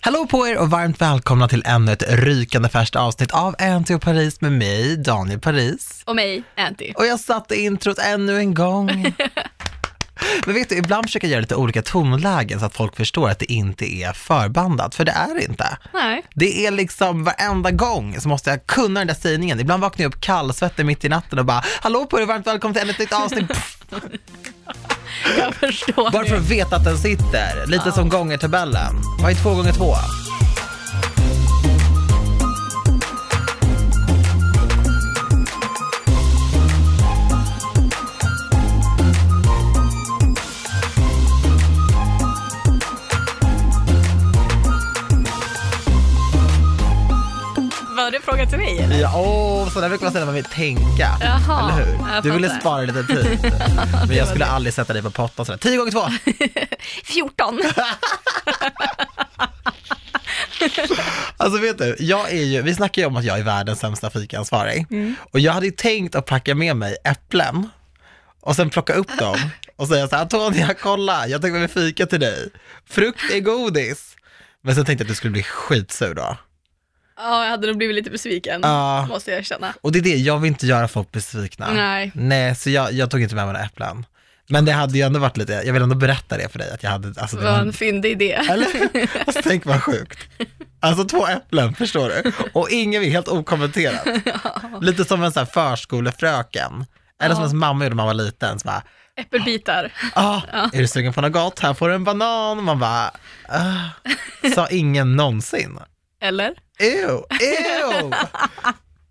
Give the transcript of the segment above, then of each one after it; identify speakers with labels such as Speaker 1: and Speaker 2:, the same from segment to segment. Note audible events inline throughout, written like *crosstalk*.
Speaker 1: Hallå på er och varmt välkomna till ännu ett rykande färskt avsnitt av Anty och Paris med mig, Daniel Paris.
Speaker 2: Och mig, Anty.
Speaker 1: Och jag satte introt ännu en gång. Men vet du, ibland försöker jag göra lite olika tonlägen så att folk förstår att det inte är förbandat, för det är det inte.
Speaker 2: Nej.
Speaker 1: Det är liksom varenda gång så måste jag kunna den där sägningen. Ibland vaknar jag upp kallsvettig mitt i natten och bara, hallå på er och varmt välkomna till ännu ett nytt avsnitt. Pff, *laughs*
Speaker 2: Jag förstår
Speaker 1: Bara för att veta att den sitter, lite som gångertabellen. Vad är två gånger två?
Speaker 2: Var det en fråga till mig eller?
Speaker 1: Ja, åh, sådana brukar man säga när man vill tänka.
Speaker 2: Jaha,
Speaker 1: eller hur?
Speaker 2: jag
Speaker 1: Du ville
Speaker 2: fattar.
Speaker 1: spara lite
Speaker 2: *laughs*
Speaker 1: tid. Men jag skulle aldrig sätta dig på pottan sådär. Tio gånger två! *laughs*
Speaker 2: 14.
Speaker 1: Alltså vet du, jag är ju, vi snackar ju om att jag är världens sämsta fikaansvarig.
Speaker 2: Mm.
Speaker 1: Och jag hade ju tänkt att packa med mig äpplen och sen plocka upp dem och säga så här, Antonia kolla, jag tog med mig fika till dig. Frukt är godis. Men sen tänkte jag att du skulle bli skitsur då.
Speaker 2: Ja, jag hade nog blivit lite besviken,
Speaker 1: Ja.
Speaker 2: måste jag erkänna.
Speaker 1: Och det är det, jag vill inte göra folk besvikna.
Speaker 2: Nej.
Speaker 1: Nej, så jag, jag tog inte med mig några äpplen. Men det hade ju ändå varit lite, jag vill ändå berätta det för dig att jag hade, alltså det
Speaker 2: Vad
Speaker 1: var,
Speaker 2: en fyndig idé. *laughs*
Speaker 1: eller? Alltså, tänk vad sjukt. Alltså två äpplen, förstår du? Och ingen vill, helt
Speaker 2: *laughs*
Speaker 1: okommenterat. Lite som en sån här förskolefröken. Eller som ens mamma gjorde när man var liten, så bara,
Speaker 2: Äppelbitar.
Speaker 1: ah, är du sugen på något gott? Här får du en banan. Man bara, ah. sa ingen någonsin.
Speaker 2: Eller?
Speaker 1: Ew, ew!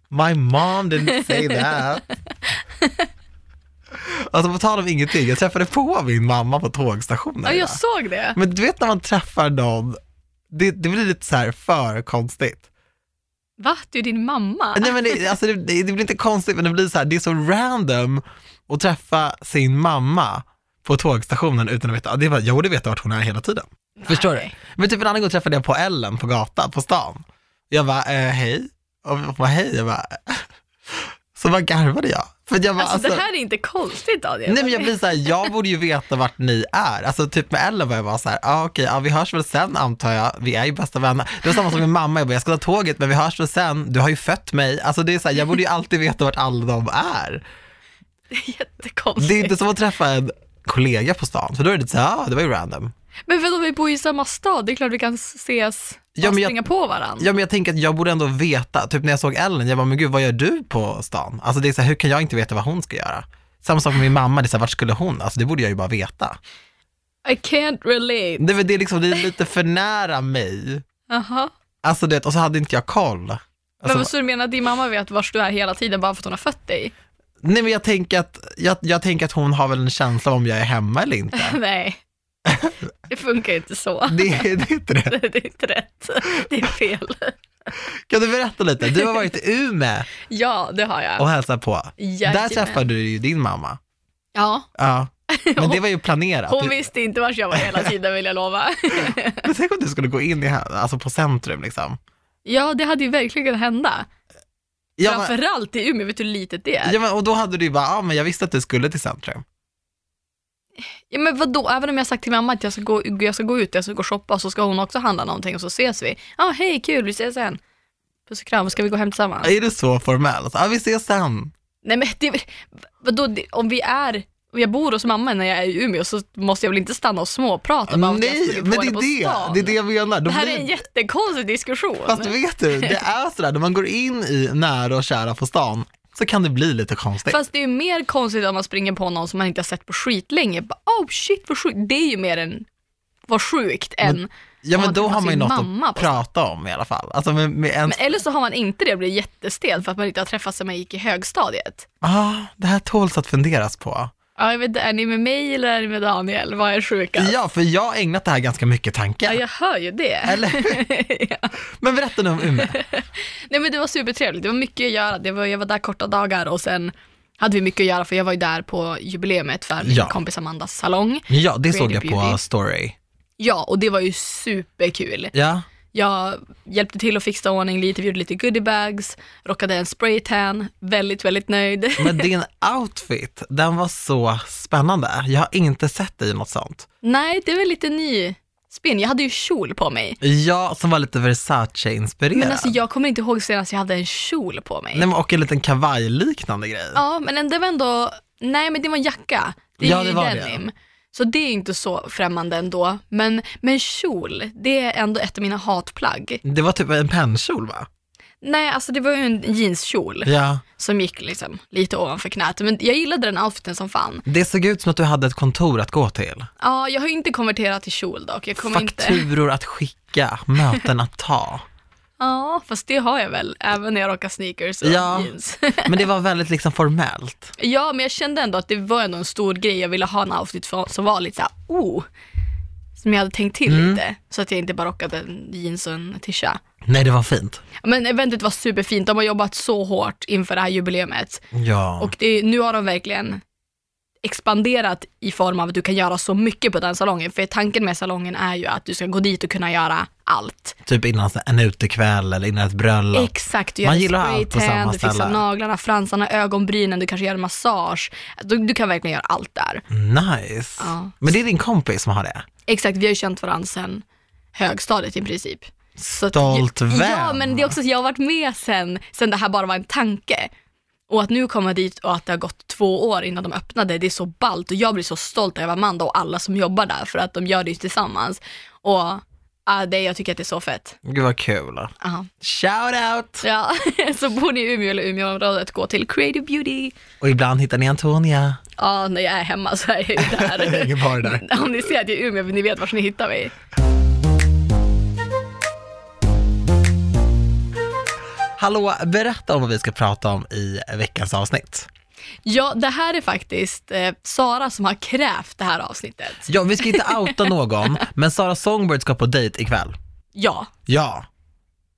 Speaker 1: My mom didn't say that. Alltså på tal om ingenting, jag träffade på min mamma på tågstationen.
Speaker 2: Ja,
Speaker 1: idag.
Speaker 2: jag såg det.
Speaker 1: Men du vet när man träffar någon, det, det blir lite så här för konstigt.
Speaker 2: Va? Du är din mamma?
Speaker 1: Nej men det, alltså det, det blir inte konstigt, men det blir så här, det är så random att träffa sin mamma på tågstationen utan att veta, det var, jag borde veta vart hon är hela tiden. Förstår du?
Speaker 2: Nej.
Speaker 1: Men typ en annan gång träffade jag på Ellen på gatan, på stan. Jag bara, eh, hej. Och hon bara, hej. Jag bara, *laughs* så bara garvade jag. För jag bara,
Speaker 2: Alltså,
Speaker 1: alltså,
Speaker 2: det här är inte konstigt Daniel.
Speaker 1: Nej men jag blir så här, jag borde ju veta vart ni är. Alltså typ med Ellen var jag bara så här, ah, okej, ja, vi hörs väl sen antar jag, vi är ju bästa vänner. Det var samma som med mamma, jag bara, jag ska ta tåget men vi hörs väl sen, du har ju fött mig. Alltså det är så här, jag borde ju alltid veta vart alla de är.
Speaker 2: Det är *laughs*
Speaker 1: Det är
Speaker 2: jättekonstigt.
Speaker 1: inte som att träffa en kollega på stan, för då är det lite så här, ah, det var ju random.
Speaker 2: Men vadå, vi bor ju i samma stad, det är klart vi kan ses
Speaker 1: Ja,
Speaker 2: och
Speaker 1: men jag-
Speaker 2: springa på varandra.
Speaker 1: Ja men jag tänker att jag borde ändå veta, typ när jag såg Ellen, jag bara, men gud vad gör du på stan? Alltså det är så här, hur kan jag inte veta vad hon ska göra? Samma sak med min mamma, det är så här, vart skulle hon? Alltså det borde jag ju bara veta.
Speaker 2: I can't relate.
Speaker 1: Det, är väl- det är liksom, det
Speaker 2: *laughs*
Speaker 1: är lite för nära mig.
Speaker 2: Jaha.
Speaker 1: Alltså det, och så hade inte jag koll. Alltså,
Speaker 2: men så du menar att din mamma vet var du är hela tiden bara för att hon har fött dig?
Speaker 1: Nej men jag tänker, att, jag, jag tänker att hon har väl en känsla om jag är hemma eller inte.
Speaker 2: *laughs* Nej, det funkar ju inte så. *laughs*
Speaker 1: Det, det är inte det.
Speaker 2: Det är inte rätt. Det är fel.
Speaker 1: Kan du berätta lite? Du har varit i Umeå
Speaker 2: Ja, det har jag.
Speaker 1: och hälsat på. Där
Speaker 2: Jajamän.
Speaker 1: träffade du ju din mamma.
Speaker 2: Ja, *laughs*
Speaker 1: Ja. Men det var ju planerat.
Speaker 2: hon
Speaker 1: Du-
Speaker 2: visste inte vart jag var hela tiden vill jag lova. *laughs*
Speaker 1: Men *laughs* tänk om du skulle gå in i, här- alltså på centrum liksom.
Speaker 2: Ja, det hade ju verkligen kunnat hända.
Speaker 1: Ja, men,
Speaker 2: Framförallt i Umeå, vet du hur litet det är?
Speaker 1: ja, men, och då hade du ju bara, ja ah, men jag visste att du skulle till centrum.
Speaker 2: Ja, men vadå, även om jag sagt till mamma att jag ska gå, jag ska gå ut, jag ska gå och shoppa, så ska hon också handla någonting och så ses vi. Ja, hej, kul, vi ses sen. Puss och kram, ska vi gå hem tillsammans?
Speaker 1: Är du så formell? Ja ah, vi ses sen.
Speaker 2: Nej men det, är väl- vadå, det, om vi är, om jag bor hos mamma när jag är i Umeå så måste jag väl inte stanna och småprata bara för att jag
Speaker 1: Nej,
Speaker 2: sprungit
Speaker 1: men
Speaker 2: på
Speaker 1: det
Speaker 2: henne på
Speaker 1: är det,
Speaker 2: stan.
Speaker 1: det är det jag menar. Då
Speaker 2: Det här
Speaker 1: blir-
Speaker 2: är en jättekonstig diskussion.
Speaker 1: Fast vet du, det är sådär, när man går in i nära och kära på stan så kan det bli lite konstigt.
Speaker 2: Fast det är ju mer konstigt om man springer på någon som man inte har sett på skitlänge. Bara, Oh shit vad sjukt. Det är ju mer än vad sjukt än.
Speaker 1: Mm.
Speaker 2: Men,
Speaker 1: ja men
Speaker 2: Ja,
Speaker 1: då
Speaker 2: det
Speaker 1: har
Speaker 2: fanns
Speaker 1: man ju
Speaker 2: ju
Speaker 1: något
Speaker 2: mamma
Speaker 1: att
Speaker 2: på
Speaker 1: prata om i alla fall. Alltså med, med en,
Speaker 2: eller så har man inte det och blir jättestel för att man inte har träffats sedan man gick i högstadiet.
Speaker 1: ah, det här tåls att funderas på.
Speaker 2: Ja, jag vet, inte, är ni med mig eller är ni med Daniel? Vad är sjukast?
Speaker 1: Ja, för jag har ägnat det här ganska mycket tankar.
Speaker 2: Ja, jag hör ju det.
Speaker 1: Eller hur?
Speaker 2: *laughs*
Speaker 1: Men berätta nu om Umeå.
Speaker 2: Nej men det var supertrevligt, det var mycket att göra. Det var, jag var där korta dagar och sen hade vi mycket att göra för jag var ju där på jubileet för min
Speaker 1: Ja.
Speaker 2: kompis Amandas salong.
Speaker 1: Ja, det såg jag
Speaker 2: Creative
Speaker 1: på
Speaker 2: Beauty.
Speaker 1: story.
Speaker 2: Ja, och det var ju superkul.
Speaker 1: Ja,
Speaker 2: Jag hjälpte till att fixa ordning lite, vi gjorde lite goodiebags, rockade en spraytan, väldigt,
Speaker 1: *laughs*
Speaker 2: väldigt nöjd.
Speaker 1: men din outfit, den var så spännande. Jag har inte sett dig i något sånt.
Speaker 2: Nej, det är väl lite ny spinn. Jag hade ju kjol på mig.
Speaker 1: Ja, som var lite Versace-inspirerad.
Speaker 2: Men alltså jag kommer inte ihåg senast jag hade en kjol på mig.
Speaker 1: Nej, men och en liten kavajliknande grej.
Speaker 2: Ja, men det var ändå, nej men det var en jacka. Det är
Speaker 1: Ja,
Speaker 2: ju
Speaker 1: det var det.
Speaker 2: denim. Så det är ju inte så främmande ändå. Men, men kjol, det är ändå ett av mina hatplagg.
Speaker 1: Det var typ en pennkjol va?
Speaker 2: Nej, alltså det var ju en jeanskjol
Speaker 1: Ja.
Speaker 2: som gick liksom lite ovanför knät. Men jag gillade den outfiten som fan.
Speaker 1: Det såg ut som att du hade ett kontor att gå till.
Speaker 2: Ja, jag har ju inte konverterat till kjol dock. Jag kommer inte...
Speaker 1: Fakturor att skicka, möten att ta.
Speaker 2: Ja, fast det har jag väl, även när jag rockar sneakers och
Speaker 1: Ja.
Speaker 2: jeans.
Speaker 1: Men det var väldigt liksom formellt.
Speaker 2: ja, men jag kände ändå att det var ändå en stor grej. Jag ville ha en outfit för- som var lite såhär, oh, som jag hade tänkt till
Speaker 1: Mm.
Speaker 2: lite. Så att jag inte bara rockade en jeans och en tisha.
Speaker 1: Nej, det var fint.
Speaker 2: Men eventet var superfint, de har jobbat så hårt inför det här jubileet.
Speaker 1: Ja.
Speaker 2: Och det, nu har de verkligen expanderat i form av att du kan göra så mycket på den salongen. För tanken med salongen är ju att du ska gå dit och kunna göra allt.
Speaker 1: typ innan så- en utekväll eller innan ett bröllop.
Speaker 2: Exakt, du
Speaker 1: Man
Speaker 2: gör
Speaker 1: gillar allt på samma
Speaker 2: spraytan, du fixar
Speaker 1: ställe.
Speaker 2: naglarna, fransarna, ögonbrynen, du kanske gör en massage. Du, du kan verkligen göra allt där.
Speaker 1: Nice.
Speaker 2: Ja.
Speaker 1: Men det är din kompis som har det.
Speaker 2: Exakt, vi har ju känt varandra sedan högstadiet i princip. Så att-
Speaker 1: Stolt vän.
Speaker 2: Ja, men det är också att jag har varit med sen, sen det här bara var en tanke. Och att nu komma dit och att det har gått två år innan de öppnade, det är så ballt och jag blir så stolt över Amanda och alla som jobbar där för att de gör det ju tillsammans. Och ja, det, jag tycker att det är så fett.
Speaker 1: Gud vad kul.
Speaker 2: Ja.
Speaker 1: Shout out!
Speaker 2: Ja, *laughs* så bor ni i Umeå eller Umeåområdet, gå till Creative Beauty.
Speaker 1: Och ibland hittar ni Antonia.
Speaker 2: Ja, när jag är hemma så är jag ju
Speaker 1: *laughs* Jag hänger
Speaker 2: där.
Speaker 1: bara där.
Speaker 2: Om ni ser att jag är i Umeå, ni vet var ni hittar mig.
Speaker 1: Hallå, berätta om vad vi ska prata om i veckans avsnitt.
Speaker 2: Ja, det här är faktiskt eh, Sara som har krävt det här avsnittet.
Speaker 1: Ja, vi ska
Speaker 2: *laughs*
Speaker 1: inte outa någon, men Sara Songbird ska på dejt ikväll.
Speaker 2: Ja,
Speaker 1: Ja.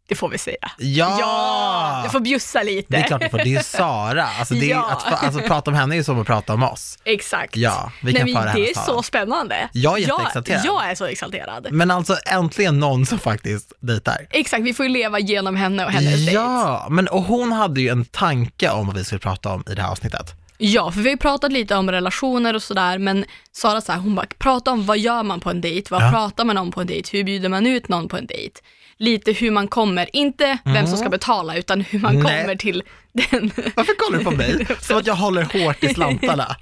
Speaker 2: det får vi säga.
Speaker 1: Ja!
Speaker 2: Du får bjussa lite.
Speaker 1: Det är klart du får, det är ju Sara. Alltså, det är,
Speaker 2: Ja.
Speaker 1: att, fa- alltså, prata om henne är ju som att prata om oss.
Speaker 2: Exakt.
Speaker 1: Ja, vi kan
Speaker 2: Nej,
Speaker 1: föra
Speaker 2: men det är
Speaker 1: hennes
Speaker 2: så
Speaker 1: talan.
Speaker 2: spännande.
Speaker 1: Jag är jätteexalterad.
Speaker 2: Jag, jag är så exalterad.
Speaker 1: Men alltså äntligen någon som faktiskt dejtar.
Speaker 2: Exakt, vi får ju leva genom henne och hennes dejt.
Speaker 1: Ja, men och hon hade ju en tanke om vad vi skulle prata om i det här avsnittet.
Speaker 2: Ja, för vi har ju pratat lite om relationer och sådär, men Sara så här, hon bara, prata om vad gör man på en dejt, vad
Speaker 1: Ja.
Speaker 2: pratar man om på en dejt, hur bjuder man ut någon på en dejt? Lite hur man kommer, inte vem som ska betala, utan hur man
Speaker 1: Mm. Nej.
Speaker 2: kommer till den.
Speaker 1: Varför kollar du på
Speaker 2: *laughs*
Speaker 1: mig? Som att jag håller hårt i slantarna.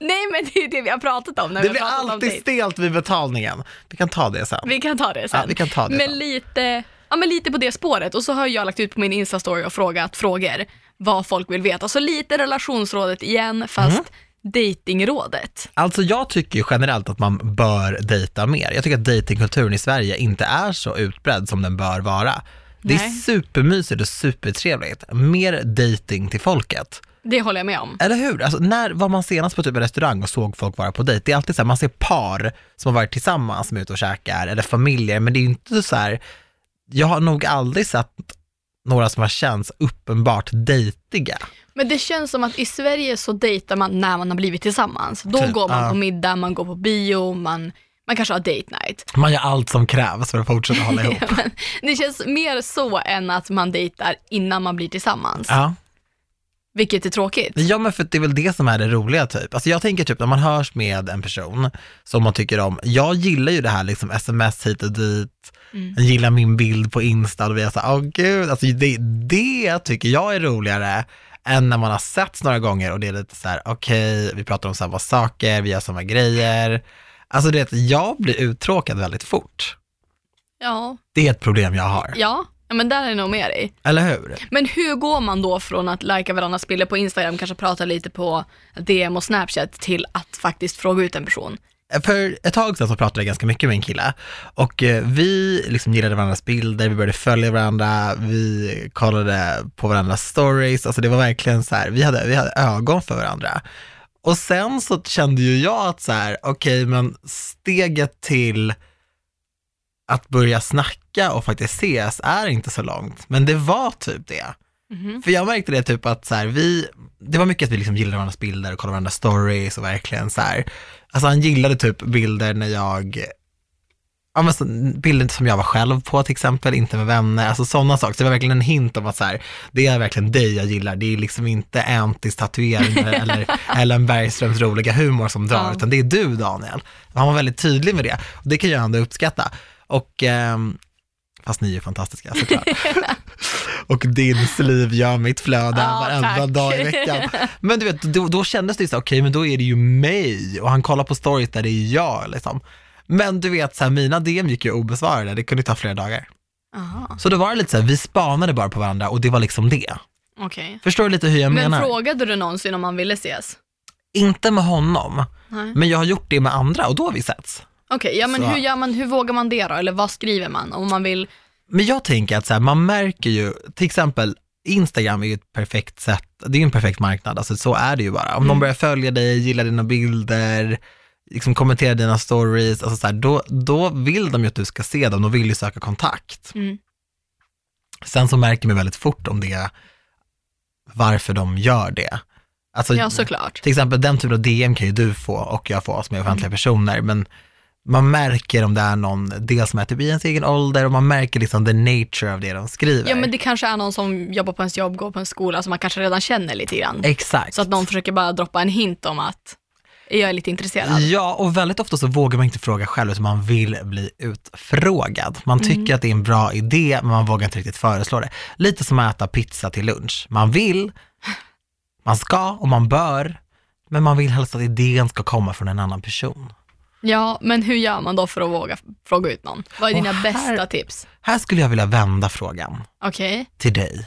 Speaker 2: Nej men det är det vi har pratat om när
Speaker 1: Det
Speaker 2: vi
Speaker 1: blir
Speaker 2: har pratat om
Speaker 1: alltid
Speaker 2: dejt.
Speaker 1: stelt vid betalningen. Vi kan ta det sen.
Speaker 2: Vi kan ta det sen.
Speaker 1: Ja, vi kan ta det
Speaker 2: men,
Speaker 1: sen.
Speaker 2: Lite, ja, men lite på det spåret. Och så har jag lagt ut på min Insta-story och frågat frågor vad folk vill veta. Så lite relationsrådet igen, fast
Speaker 1: Mhm.
Speaker 2: datingrådet.
Speaker 1: Alltså jag tycker ju generellt att man bör dejta mer. Jag tycker att datingkulturen i Sverige inte är så utbredd som den bör vara. Det är
Speaker 2: Nej.
Speaker 1: supermysigt och supertrevligt. Mer dating till folket.
Speaker 2: Det håller jag med om.
Speaker 1: Eller hur? Alltså, när var man senast på typ en restaurang och såg folk vara på dejt? Det är alltid så här, man ser par som har varit tillsammans som är ute och käkar, eller familjer, men det är ju inte så här, jag har nog aldrig sett några som har känts uppenbart dejtiga.
Speaker 2: Men det känns som att i Sverige så dejtar man när man har blivit tillsammans. Då
Speaker 1: Typ,
Speaker 2: går man
Speaker 1: ja.
Speaker 2: på middag, man går på bio, man, man kanske har date night.
Speaker 1: Man gör allt som krävs för att fortsätta hålla ihop.
Speaker 2: *laughs* Men det känns mer så än att man dejtar innan man blir tillsammans,
Speaker 1: ja.
Speaker 2: vilket är tråkigt.
Speaker 1: Ja men för det är väl det som är det roliga typ. Alltså jag tänker typ när man hörs med en person som man tycker om, jag gillar ju det här liksom sms hit och dit, jag gillar min bild på Insta och vi är såhär, åh gud, alltså det, det tycker jag är roligare än när man har setts några gånger och det är lite så här: okej, vi pratar om samma saker, vi gör samma grejer. Alltså det, jag blir uttråkad väldigt fort.
Speaker 2: Ja,
Speaker 1: Det är ett problem jag har,
Speaker 2: ja. ja men där är jag nog med dig.
Speaker 1: eller hur?
Speaker 2: Men hur går man då från att lajka varandras bilder på Instagram, kanske prata lite på DM och Snapchat till att faktiskt fråga ut en person?
Speaker 1: För ett tag sedan så pratade jag ganska mycket med en kille och eh, vi liksom gillade varandras bilder, vi började följa varandra, vi kollade på varandras stories, alltså det var verkligen så här, vi hade, vi hade ögon för varandra. Och sen så kände ju jag att så här, okej men steget till att börja snacka och faktiskt ses är inte så långt, men det var typ det. För jag märkte det typ att så här, vi, det var mycket att vi liksom gillade varandras bilder och kollade varandras stories och verkligen så här. Alltså han gillade typ bilder när jag, ja ja, men så, bilder som jag var själv på till exempel, inte med vänner, alltså sådana saker. Så det var verkligen en hint om att så här, det är verkligen dig jag gillar. Det är liksom inte Antis tatueringar eller Ellen Bergströms roliga humor som drar,
Speaker 2: Ja.
Speaker 1: utan det är du Daniel. Han var väldigt tydlig med det och det kan jag ändå uppskatta. Och, ehm, fast ni är fantastiska såklart. *laughs* och din sliv gör mitt flöde
Speaker 2: Ja,
Speaker 1: varenda
Speaker 2: tack.
Speaker 1: dag i veckan.
Speaker 2: *laughs*
Speaker 1: Men du vet, då, då kändes det ju så här, okej, men då är det ju mig och han kollar på stories där det är jag liksom. Men du vet, så här, mina DM gick ju obesvarade, det kunde ju ta flera dagar.
Speaker 2: Aha,
Speaker 1: Så då var det lite så här, vi spanade bara på varandra och det var liksom det.
Speaker 2: okej.
Speaker 1: Förstår du lite hur jag
Speaker 2: Men
Speaker 1: menar?
Speaker 2: frågade du någonsin om han ville ses?
Speaker 1: Inte med honom,
Speaker 2: Nej.
Speaker 1: men jag har gjort det med andra och då har vi setts.
Speaker 2: Okej, ja men
Speaker 1: Så-
Speaker 2: hur gör man, hur vågar man det då? Eller vad skriver man om man vill?
Speaker 1: Men jag tänker att så här, man märker ju, till exempel Instagram är ju ett perfekt sätt, det är ju en perfekt marknad, alltså så är det ju bara. Om någon börjar följa dig, gillar dina bilder, liksom kommenterar dina stories, alltså så här, då, då vill de ju att du ska se dem, de vill ju söka kontakt.
Speaker 2: Mm.
Speaker 1: Sen så märker man väldigt fort om det, varför de gör det. Alltså,
Speaker 2: Ja såklart.
Speaker 1: till exempel den typen av DM kan ju du få och jag få som är
Speaker 2: Mm.
Speaker 1: offentliga personer, men man märker om det är någon, dels som är typ i ens egen ålder och man märker liksom the nature av det de skriver.
Speaker 2: Ja men det kanske är någon som jobbar på ens jobb, går på en skola som man kanske redan känner lite grann.
Speaker 1: Exakt.
Speaker 2: Så att någon försöker bara droppa en hint om att jag är lite intresserad.
Speaker 1: Ja, och väldigt ofta så vågar man inte fråga själv, utan man vill bli utfrågad. Man
Speaker 2: Mm.
Speaker 1: tycker att det är en bra idé, men man vågar inte riktigt föreslå det. Lite som att äta pizza till lunch. Man vill, man ska och man bör, men man vill helst att idén ska komma från en annan person.
Speaker 2: Ja, men hur gör man då för att våga fråga ut någon? Vad är
Speaker 1: Och
Speaker 2: dina
Speaker 1: här-
Speaker 2: bästa tips?
Speaker 1: Här skulle jag vilja vända frågan
Speaker 2: Okej,
Speaker 1: till dig.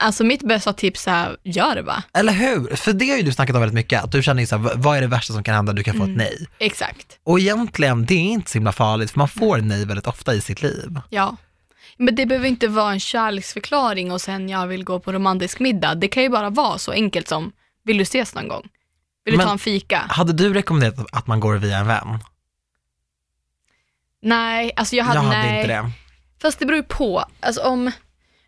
Speaker 2: alltså mitt bästa tips är, gör det bara.
Speaker 1: Eller hur? För det har ju du snackat om väldigt mycket, att du känner ju så här, "V- vad är det värsta som kan hända, du kan
Speaker 2: Mm.
Speaker 1: få ett nej.
Speaker 2: Exakt,
Speaker 1: Och egentligen, det är inte så himla farligt, för man får nej väldigt ofta i sitt liv.
Speaker 2: ja. Men det behöver inte vara en kärleksförklaring och sen jag vill gå på romantisk middag. Det kan ju bara vara så enkelt som, vill du ses någon gång? Vill du
Speaker 1: Men-
Speaker 2: ta en fika?
Speaker 1: Hade du rekommenderat att man går via en vän?
Speaker 2: Nej, alltså jag hade,
Speaker 1: jag hade
Speaker 2: nej.
Speaker 1: inte det.
Speaker 2: Fast det beror ju på. Alltså om,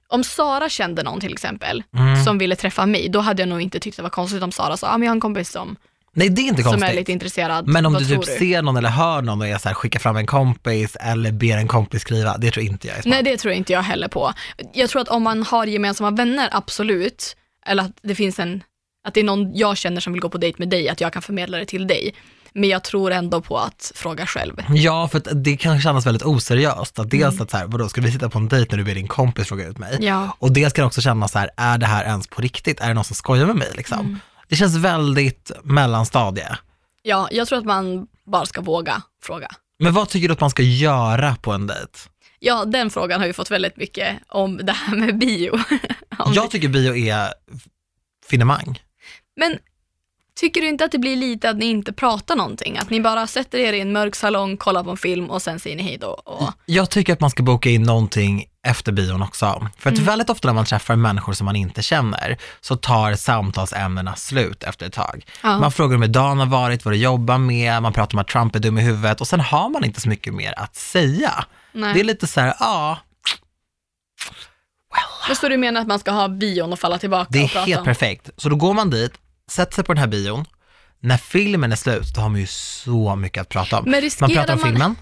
Speaker 2: om Sara kände någon till exempel,
Speaker 1: Mm.
Speaker 2: som ville träffa mig, då hade jag nog inte tyckt det var konstigt om Sara sa, ah, men jag har en kompis som,
Speaker 1: Nej, det är inte
Speaker 2: som
Speaker 1: konstigt.
Speaker 2: är lite intresserad.
Speaker 1: Men om
Speaker 2: Vad
Speaker 1: du
Speaker 2: tror
Speaker 1: typ ser någon eller hör någon och är så här, skicka fram en kompis eller ber en kompis skriva, det tror inte jag är smart.
Speaker 2: Nej, det tror inte jag heller på. Jag tror att om man har gemensamma vänner, absolut, eller att det finns en, att det är någon jag känner som vill gå på dejt med dig, att jag kan förmedla det till dig. Men jag tror ändå på att fråga själv.
Speaker 1: Ja, för att det kan kännas väldigt oseriöst. Att
Speaker 2: Mm.
Speaker 1: dels att så här, vadå, ska vi sitta på en dejt när du ber din kompis fråga ut mig?
Speaker 2: Ja.
Speaker 1: Och dels kan det också kännas så här, är det här ens på riktigt? Är det någon som skojar med mig liksom?
Speaker 2: Mm.
Speaker 1: Det känns väldigt mellanstadie.
Speaker 2: ja, jag tror att man bara ska våga fråga.
Speaker 1: Men vad tycker du att man ska göra på en dejt?
Speaker 2: Ja, den frågan har ju fått väldigt mycket om *laughs* det här med bio. Om
Speaker 1: Jag tycker bio är finemang.
Speaker 2: Men tycker du inte att det blir lite att ni inte pratar någonting? Att ni bara sätter er i en mörk salong, kollar på en film och sen säger ni hej då? Och...
Speaker 1: Jag tycker att man ska boka in någonting efter bion också. För
Speaker 2: Mm.
Speaker 1: att väldigt ofta när man träffar människor som man inte känner så tar samtalsämnena slut efter ett tag.
Speaker 2: Ja.
Speaker 1: Man frågar om hur dagen har varit, vad du jobbar med, man pratar om att Trump är dum i huvudet och sen har man inte så mycket mer att säga.
Speaker 2: Nej.
Speaker 1: Det är lite så här, ja,
Speaker 2: Förstår du menar att man ska ha bion och falla tillbaka
Speaker 1: det
Speaker 2: och
Speaker 1: är
Speaker 2: prata?
Speaker 1: helt perfekt. Så då går man dit, sätter sig på den här bion, när filmen är slut, då har man ju så mycket att prata om.
Speaker 2: Men
Speaker 1: Man
Speaker 2: riskerar
Speaker 1: pratar om
Speaker 2: man-
Speaker 1: filmen,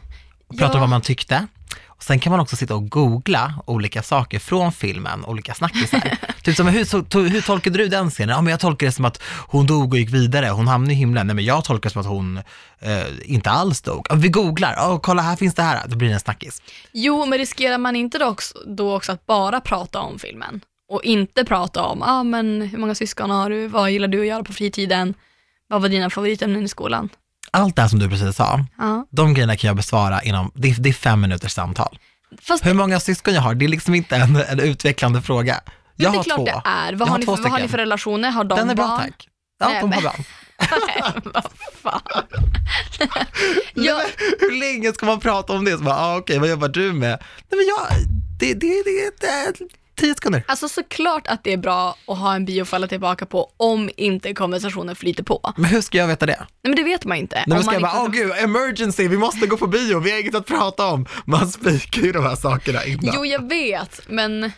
Speaker 1: och pratar om
Speaker 2: Ja.
Speaker 1: vad man tyckte. Och sen kan man också sitta och googla olika saker från filmen, olika
Speaker 2: *laughs*
Speaker 1: snackisar. typ som, hur, to, hur tolkade du den scenen? Ja, men jag tolkar det som att hon dog och gick vidare, hon hamnade i himlen. Nej, men jag tolkar det som att hon eh, inte alls dog. Ja, vi googlar, Ja, kolla här finns det här. Då blir det en snackis.
Speaker 2: Jo, men riskerar man inte då också, då också att bara prata om filmen? Och inte prata om, ah, men hur många syskon har du, vad gillar du att göra på fritiden, vad var dina favoritämnen i skolan?
Speaker 1: Allt det här som du precis sa,
Speaker 2: Ja.
Speaker 1: de grejerna kan jag besvara inom, det, är- det är fem minuters samtal.
Speaker 2: Fast
Speaker 1: Hur många syskon jag har, det är liksom inte en, en utvecklande fråga. Jag
Speaker 2: det är
Speaker 1: har
Speaker 2: klart
Speaker 1: två.
Speaker 2: det är.
Speaker 1: Jag
Speaker 2: Vad har, ni
Speaker 1: två
Speaker 2: för, vad har ni
Speaker 1: stycken.
Speaker 2: för relationer? Har de
Speaker 1: Den är bra
Speaker 2: barn?
Speaker 1: tack. Ja,
Speaker 2: Nej,
Speaker 1: de har
Speaker 2: men-
Speaker 1: barn.
Speaker 2: *laughs* Nej, vad fan. jag,
Speaker 1: *laughs* Hur länge ska man prata om det? Så bara, ah, okej, vad jobbar du med? Nej, men jag, det, det, det, det, tio sekunder.
Speaker 2: alltså såklart att det är bra att ha en bio att falla tillbaka på om inte konversationen flyter på.
Speaker 1: Men hur ska jag veta det?
Speaker 2: Nej men det vet man ju inte.
Speaker 1: Nej,
Speaker 2: Om
Speaker 1: men ska jag
Speaker 2: man
Speaker 1: bara,
Speaker 2: inte-
Speaker 1: åh gud, emergency, vi måste gå på bio, vi har inget att prata om. Man spikar ju de här sakerna innan.
Speaker 2: Jo, jag vet, men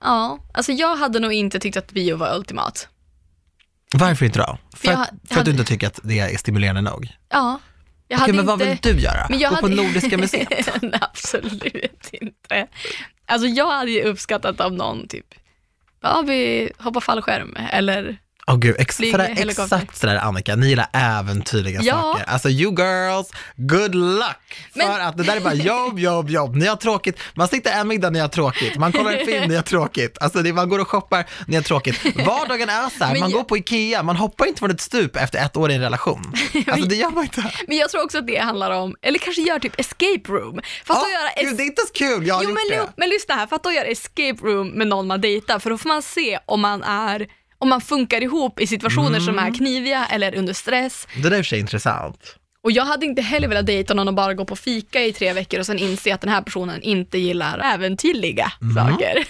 Speaker 2: ja, alltså jag hade nog inte tyckt att bio var ultimat.
Speaker 1: Varför inte då? För,
Speaker 2: jag
Speaker 1: att- för att du
Speaker 2: hade-
Speaker 1: inte tycker att det är stimulerande nog?
Speaker 2: Ja, Jag
Speaker 1: Okej,
Speaker 2: hade
Speaker 1: men vad
Speaker 2: inte-
Speaker 1: vill du göra?
Speaker 2: Men jag
Speaker 1: Gå på
Speaker 2: hade-
Speaker 1: Nordiska museet?
Speaker 2: *laughs* Nej, absolut inte. Alltså jag hade ju uppskattat om någon typ, ja vi hoppar fallskärm eller
Speaker 1: Åh gud, ex-
Speaker 2: Flyg-
Speaker 1: sådär,
Speaker 2: helikopter.
Speaker 1: exakt sådär Annika, ni gillar äventyrliga
Speaker 2: Ja.
Speaker 1: saker. Alltså you girls, good luck! För
Speaker 2: Men-
Speaker 1: att det där är bara jobb, jobb, jobb, ni har tråkigt. Man sitter en middag, ni har tråkigt. Man kollar
Speaker 2: *laughs*
Speaker 1: en film, ni har tråkigt. Alltså det, man går och shoppar, ni har tråkigt. Vardagen är så här,
Speaker 2: Men
Speaker 1: man
Speaker 2: jag-
Speaker 1: går på Ikea, man hoppar inte från ett stup efter ett år i en
Speaker 2: *laughs*
Speaker 1: relation. Alltså det gör man inte.
Speaker 2: Men jag tror också att det handlar om, eller kanske gör typ escape room. För att
Speaker 1: Åh,
Speaker 2: då göra
Speaker 1: gud,
Speaker 2: es-
Speaker 1: det är inte så kul, jag har
Speaker 2: jo,
Speaker 1: gjort
Speaker 2: men,
Speaker 1: det.
Speaker 2: lo- men lyssna här, för att då göra escape room med någon man dejtar för då får man se om man är om man funkar ihop i situationer som
Speaker 1: Mm.
Speaker 2: är kniviga eller under stress.
Speaker 1: Det där är i och för sig intressant.
Speaker 2: Och jag hade inte heller velat dejta någon och bara gå på fika i tre veckor och sen inse att den här personen inte gillar äventyrliga
Speaker 1: Mm.
Speaker 2: saker.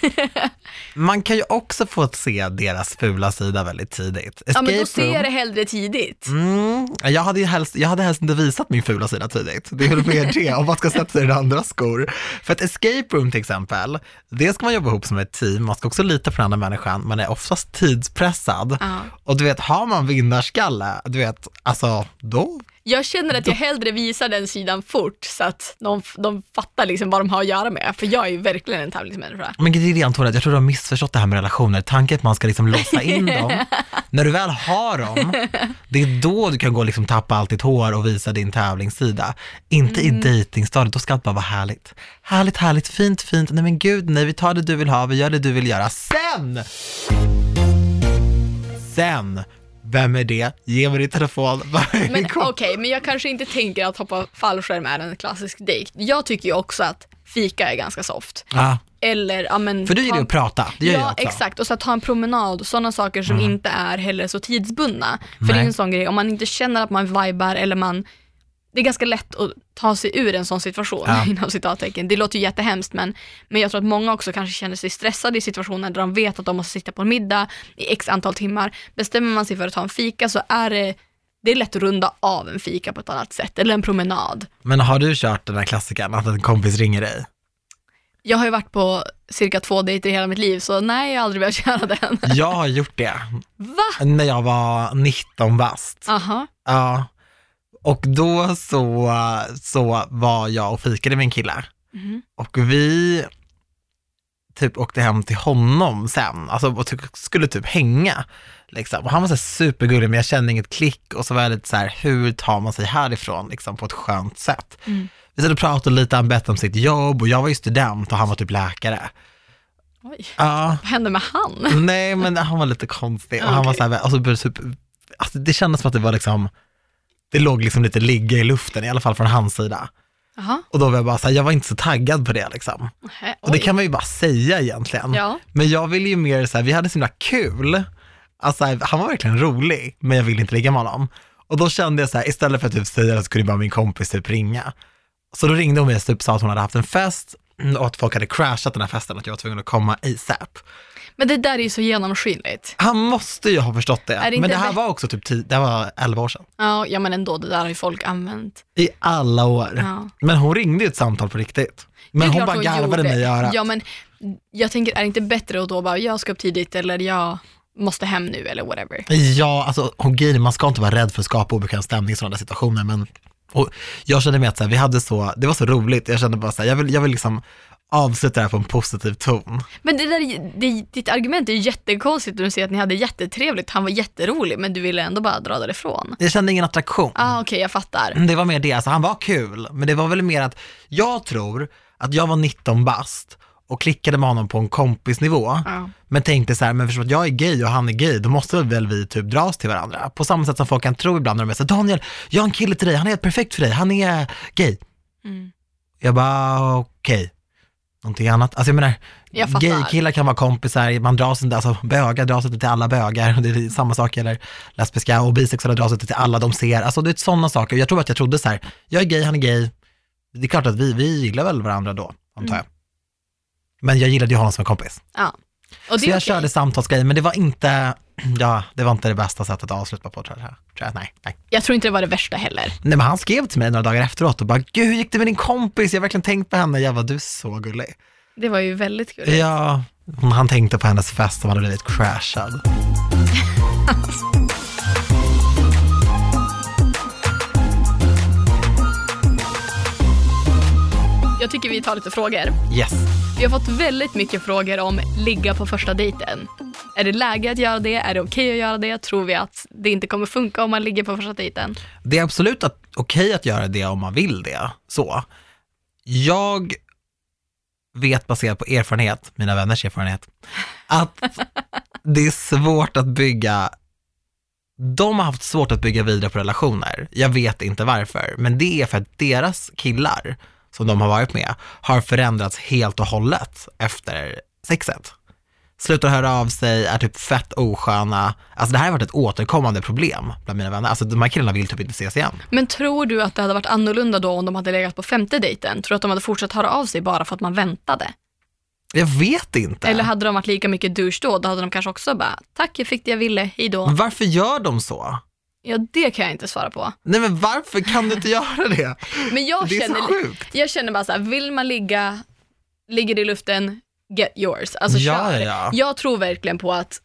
Speaker 1: Man kan ju också få se deras fula sida väldigt tidigt.
Speaker 2: *laughs* ja men då
Speaker 1: Escape
Speaker 2: ser
Speaker 1: room.
Speaker 2: jag det hellre tidigt.
Speaker 1: Mm, jag, hade ju helst, jag hade helst inte visat min fula sida tidigt. Det är väl mer det, om man ska sätta sig i andra skor. För ett escape room till exempel, det ska man jobba ihop som ett team, man ska också lita på den andra människan, man är oftast tidspressad.
Speaker 2: Ja.
Speaker 1: Och du vet, har man vinnarskalle, du vet, alltså då,
Speaker 2: Jag känner att jag hellre visar den sidan fort så att de, de fattar liksom vad de har att göra med. För jag är ju verkligen en tävlingsmänniska.
Speaker 1: men det är det Antonija, jag tror du har missförstått det här med relationer, tanken att man ska liksom låsa
Speaker 2: *laughs*
Speaker 1: in dem. När du väl har dem, det är då du kan gå och liksom tappa allt ditt hår och visa din tävlingssida. Inte
Speaker 2: Mm.
Speaker 1: i dejtingstadiet, då ska allt bara vara härligt. Härligt, härligt, fint, fint, nej men gud, nej vi tar det du vill ha, vi gör det du vill göra. Sen! Sen! Vem är det? Ge mig din telefon. *laughs*
Speaker 2: Men okej, men jag kanske inte tänker att hoppa fallskärm är en klassisk dejt. Jag tycker ju också att fika är ganska soft.
Speaker 1: ja,
Speaker 2: Eller, ja men...
Speaker 1: för du
Speaker 2: ta-
Speaker 1: gillar ju att prata, det gör jag
Speaker 2: Ja,
Speaker 1: också. Mm.
Speaker 2: exakt. Och så att ta en promenad, sådana saker som inte är heller så tidsbundna. För det är
Speaker 1: Nej.
Speaker 2: en sån grej, om man inte känner att man vibar eller man... Det är ganska lätt att ta sig ur en sån situation,
Speaker 1: Ja.
Speaker 2: *laughs* inom citattecken. Det låter ju jättehemskt, men, men jag tror att många också kanske känner sig stressade i situationer där de vet att de måste sitta på en middag i x antal timmar. Bestämmer man sig för att ta en fika så är det, det är lätt att runda av en fika på ett annat sätt, eller en promenad.
Speaker 1: Men har du kört den här klassikern att en kompis ringer dig?
Speaker 2: Jag har ju varit på cirka två dejter i hela mitt liv, så nej, jag har aldrig behövt *laughs* göra den.
Speaker 1: Jag har gjort det
Speaker 2: Va?
Speaker 1: när jag var 19 bast.
Speaker 2: Aha.
Speaker 1: Ja. Och då så, så var jag och fikade med en kille.
Speaker 2: Mhm.
Speaker 1: Och vi typ åkte hem till honom sen, alltså och ty- skulle typ hänga. Liksom. Och han var så här supergullig, men jag kände inget klick. Och så var jag lite så här, hur tar man sig härifrån liksom, på ett skönt sätt?
Speaker 2: Mm.
Speaker 1: Vi satt och pratade lite, han berättade om sitt jobb och jag var ju student och han var typ läkare.
Speaker 2: Oj.
Speaker 1: Ja.
Speaker 2: Vad hände med han?
Speaker 1: Nej, men han var lite konstig och han var
Speaker 2: Okej.
Speaker 1: så här, alltså, började typ, alltså, det kändes som att det var liksom, det låg liksom lite ligga i luften, i alla fall från hans sida.
Speaker 2: Jaha,
Speaker 1: Och då var jag bara så här, jag var inte så taggad på det liksom.
Speaker 2: nähä,
Speaker 1: Och det
Speaker 2: oj.
Speaker 1: kan man ju bara säga egentligen.
Speaker 2: Ja.
Speaker 1: Men jag ville ju mer så här, vi hade så himla kul. Alltså han var verkligen rolig, men jag ville inte ligga med honom. Och då kände jag så här, istället för att typ säga det så kunde bara min kompis typ ringa. Så då ringde hon mig och typ sa att hon hade haft en fest och att folk hade crashat den här festen, att jag var tvungen att komma ASAP.
Speaker 2: Men det där är ju så genomskinligt.
Speaker 1: Han måste ju ha förstått det.
Speaker 2: Är det
Speaker 1: men
Speaker 2: inte
Speaker 1: det här
Speaker 2: bä-
Speaker 1: var också typ 10, det här var 11 år sedan.
Speaker 2: Ja, ja, men ändå, det där har ju folk använt.
Speaker 1: I alla år.
Speaker 2: Ja.
Speaker 1: Men hon ringde ju ett samtal på riktigt. Men
Speaker 2: Det är
Speaker 1: hon
Speaker 2: klart
Speaker 1: bara garvade
Speaker 2: gjorde.
Speaker 1: mig i örat.
Speaker 2: Ja, men jag tänker, är det inte bättre att då bara, jag ska upp tidigt eller jag måste hem nu eller whatever.
Speaker 1: Ja, alltså hon grejen är, man ska inte vara rädd för att skapa obekväm stämning i sådana där situationer, men och jag kände mig att så här, vi hade så, det var så roligt, jag kände bara så här, jag vill, jag vill liksom avsluta det här på en positiv ton.
Speaker 2: Men det där, är ju- det, ditt argument är ju jättekonstigt när du säger att ni hade jättetrevligt, han var jätterolig, men du ville ändå bara dra därifrån.
Speaker 1: Jag kände ingen attraktion.
Speaker 2: Ah, Okej, jag fattar.
Speaker 1: Det var mer det, alltså han var kul, men det var väl mer att jag tror att jag var 19 bast och klickade med honom på en kompisnivå,
Speaker 2: Ja.
Speaker 1: men tänkte så här, men förstås att jag är gay och han är gay, då måste väl vi typ dras till varandra. På samma sätt som folk kan tro ibland när de är så här, Daniel, jag har en kille till dig, han är helt perfekt för dig, han är gay.
Speaker 2: Mm.
Speaker 1: Jag bara, okej. Någonting annat. Alltså jag menar,
Speaker 2: Jag fattar.
Speaker 1: gaykillar kan vara kompisar, man dras inte, alltså bögar dras inte till alla bögar, det är samma sak eller lesbiska och bisexuella dras inte till alla de ser. Alltså det är sådana saker. Jag tror att jag trodde så här, jag är gay, han är gay. Det är klart att vi, vi gillar väl varandra då, antar jag.
Speaker 2: Mm.
Speaker 1: Men jag gillade ju honom som en kompis.
Speaker 2: Ja. Och
Speaker 1: Så
Speaker 2: det
Speaker 1: jag
Speaker 2: är okej.
Speaker 1: körde samtalsgrejer, men det var inte, ja, det var inte det bästa sättet att avsluta på tror jag. Tror jag. Nej, nej.
Speaker 2: Jag tror inte det var det värsta heller.
Speaker 1: Nej men han skrev till mig några dagar efteråt och bara, gud hur gick det med din kompis? Jag har verkligen tänkt på henne. Jag bara, du är så gullig.
Speaker 2: Det var ju väldigt
Speaker 1: Eh.
Speaker 2: kul.
Speaker 1: Ja, hon- han tänkte på hennes fest och hade blivit crashad.
Speaker 2: jag tycker vi tar lite frågor.
Speaker 1: Yes.
Speaker 2: Vi har fått väldigt mycket frågor om ligga på första dejten. Är det läge att göra det? Är det okej att göra det? Tror vi att det inte kommer funka om man ligger på första dejten?
Speaker 1: Det är absolut att, okej att göra det om man vill det. Så. Jag vet baserat på erfarenhet, mina vänners erfarenhet, att det är svårt att bygga de har haft svårt att bygga vidare på relationer. Jag vet inte varför, men det är för att deras killar som de har varit med har förändrats helt och hållet efter sexet. Slutar höra av sig, är typ fett osköna. Alltså det här har varit ett återkommande problem bland mina vänner. Alltså de här killarna vill typ inte ses igen.
Speaker 2: Men tror du att det hade varit annorlunda då om de hade legat på femte dejten? Tror du att de hade fortsatt höra av sig bara för att man väntade?
Speaker 1: Jag vet inte.
Speaker 2: Eller hade de varit lika mycket douche då? Då hade de kanske också bara, tack jag fick det jag ville, hejdå.
Speaker 1: Men varför gör de så?
Speaker 2: Ja, det kan jag inte svara på.
Speaker 1: Nej men varför kan du inte göra det?
Speaker 2: Men jag
Speaker 1: Det är så
Speaker 2: känner,
Speaker 1: sjukt.
Speaker 2: jag känner bara så här, vill man ligga, ligger det i luften, get yours. Alltså
Speaker 1: Ja,
Speaker 2: kör.
Speaker 1: ja.
Speaker 2: Jag tror verkligen på att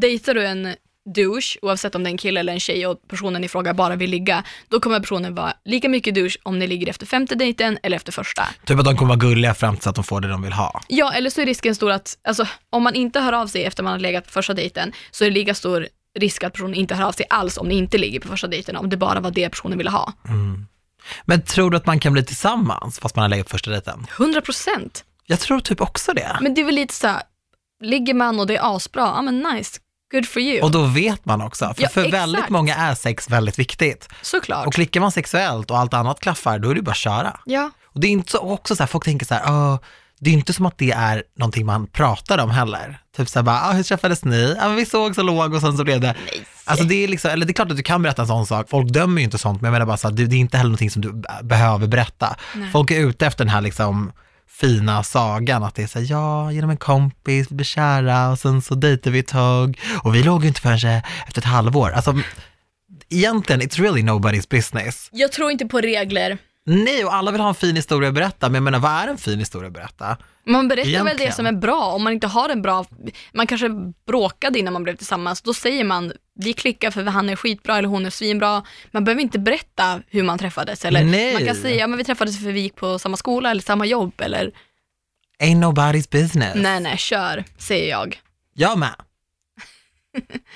Speaker 2: dejtar du en douche, oavsett om det är en kille eller en tjej och personen i fråga bara vill ligga, då kommer personen vara lika mycket douche om ni ligger efter femte dejten eller efter första.
Speaker 1: Typ att de kommer vara gulliga fram tills att de får det de vill ha.
Speaker 2: Ja, eller så är risken stor att, alltså, om man inte hör av sig efter man har legat på första dejten, så är det lika stor risk att personen inte hör av sig alls om ni inte ligger på första dejten, om det bara var det personen ville ha.
Speaker 1: Men tror du att man kan bli tillsammans fast man har legat på första dejten?
Speaker 2: 100 procent.
Speaker 1: Jag tror typ också det.
Speaker 2: Men det är väl lite såhär, ligger man och det är asbra, ja men nice, good for you.
Speaker 1: Och då vet man också, för,
Speaker 2: Ja,
Speaker 1: för
Speaker 2: exakt.
Speaker 1: väldigt många är sex väldigt viktigt.
Speaker 2: Såklart.
Speaker 1: Och klickar man sexuellt och allt annat klaffar, då är det bara att köra.
Speaker 2: ja.
Speaker 1: Och det är inte så, också så här, folk tänker så här, "Åh, det är inte som att det är någonting man pratar om heller. Typ så här bara, "Ah, hur träffades ni? Ja, men vi såg så låg och sen så blev det. Alltså det är liksom, eller det är klart att du kan berätta en sån sak, folk dömer ju inte sånt, men jag menar bara så här, det, det är inte heller någonting som du b- behöver berätta. Folk är ute efter den här liksom fina sagan, att det är så här, ja, genom en kompis, vi blir kära och sen så dejtade vi ett tag och vi låg ju inte förrän efter ett halvår. Alltså, egentligen, it's really nobody's business.
Speaker 2: Jag tror inte på regler.
Speaker 1: Nej, och alla vill ha en fin historia att berätta, men jag menar vad är en fin historia att berätta?
Speaker 2: Man berättar väl
Speaker 1: Egentligen.
Speaker 2: det som är bra, om man inte har en bra, man kanske bråkade innan man blev tillsammans, då säger man vi klickar för han är skitbra eller hon är svinbra. Man behöver inte berätta hur man träffades eller
Speaker 1: Nej.
Speaker 2: man kan säga men vi träffades för vi gick på samma skola eller samma jobb eller
Speaker 1: Ain't nobody's business.
Speaker 2: nej nej kör, säger jag.
Speaker 1: Jag med.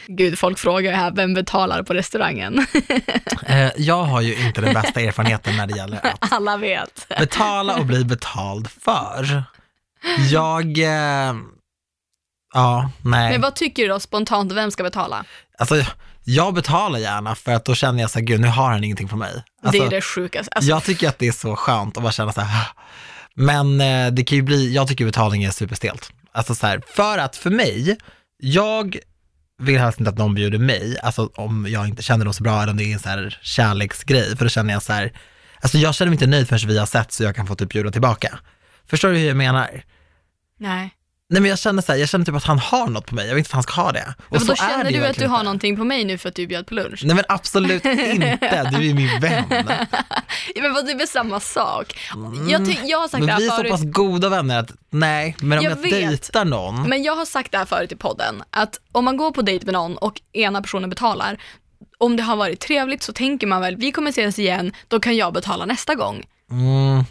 Speaker 2: Gud, folk frågar ju här, vem betalar på restaurangen?
Speaker 1: Eh, jag har ju inte den bästa erfarenheten när det gäller att
Speaker 2: *laughs* Alla vet.
Speaker 1: betala och bli betald för. Jag, eh, ja, nej.
Speaker 2: Men vad tycker du då spontant, vem ska betala?
Speaker 1: Alltså, jag betalar gärna för att då känner jag så här, gud nu har han ingenting på mig. Alltså,
Speaker 2: det är det sjukaste. Alltså,
Speaker 1: Jag tycker att det är så skönt att bara känna så här, "Ah." men eh, det kan ju bli, jag tycker betalning är superstelt. Alltså så här, för att för mig, jag vill helst inte att någon bjuder mig, alltså om jag inte känner dem så bra eller om det är en så här kärleksgrej, för då känner jag så här, alltså jag känner mig inte nöjd förrän vi har sett så jag kan få typ bjuda tillbaka. Förstår du hur jag menar?
Speaker 2: nej.
Speaker 1: Nej men jag känner så här, jag känner typ att han har något på mig, jag vet inte att han ska ha det. Och
Speaker 2: Men
Speaker 1: så
Speaker 2: då
Speaker 1: är det ju
Speaker 2: känner du att du
Speaker 1: verkligen
Speaker 2: har
Speaker 1: inte.
Speaker 2: någonting på mig nu för att du bjöd på lunch?
Speaker 1: Nej men
Speaker 2: *laughs*
Speaker 1: absolut inte, du är min vän.
Speaker 2: Ja, men vad, det är väl samma sak? Jag, ty- jag har sagt det
Speaker 1: Men
Speaker 2: här
Speaker 1: vi är så
Speaker 2: förut.
Speaker 1: pass goda vänner att nej, men om
Speaker 2: Jag
Speaker 1: jag,
Speaker 2: vet. Mm.
Speaker 1: dejtar någon,
Speaker 2: Men jag har sagt det här förut i podden, att om man går på dejt med någon och ena personen betalar, om det har varit trevligt så tänker man väl, vi kommer ses igen, då kan jag betala nästa gång.
Speaker 1: mm,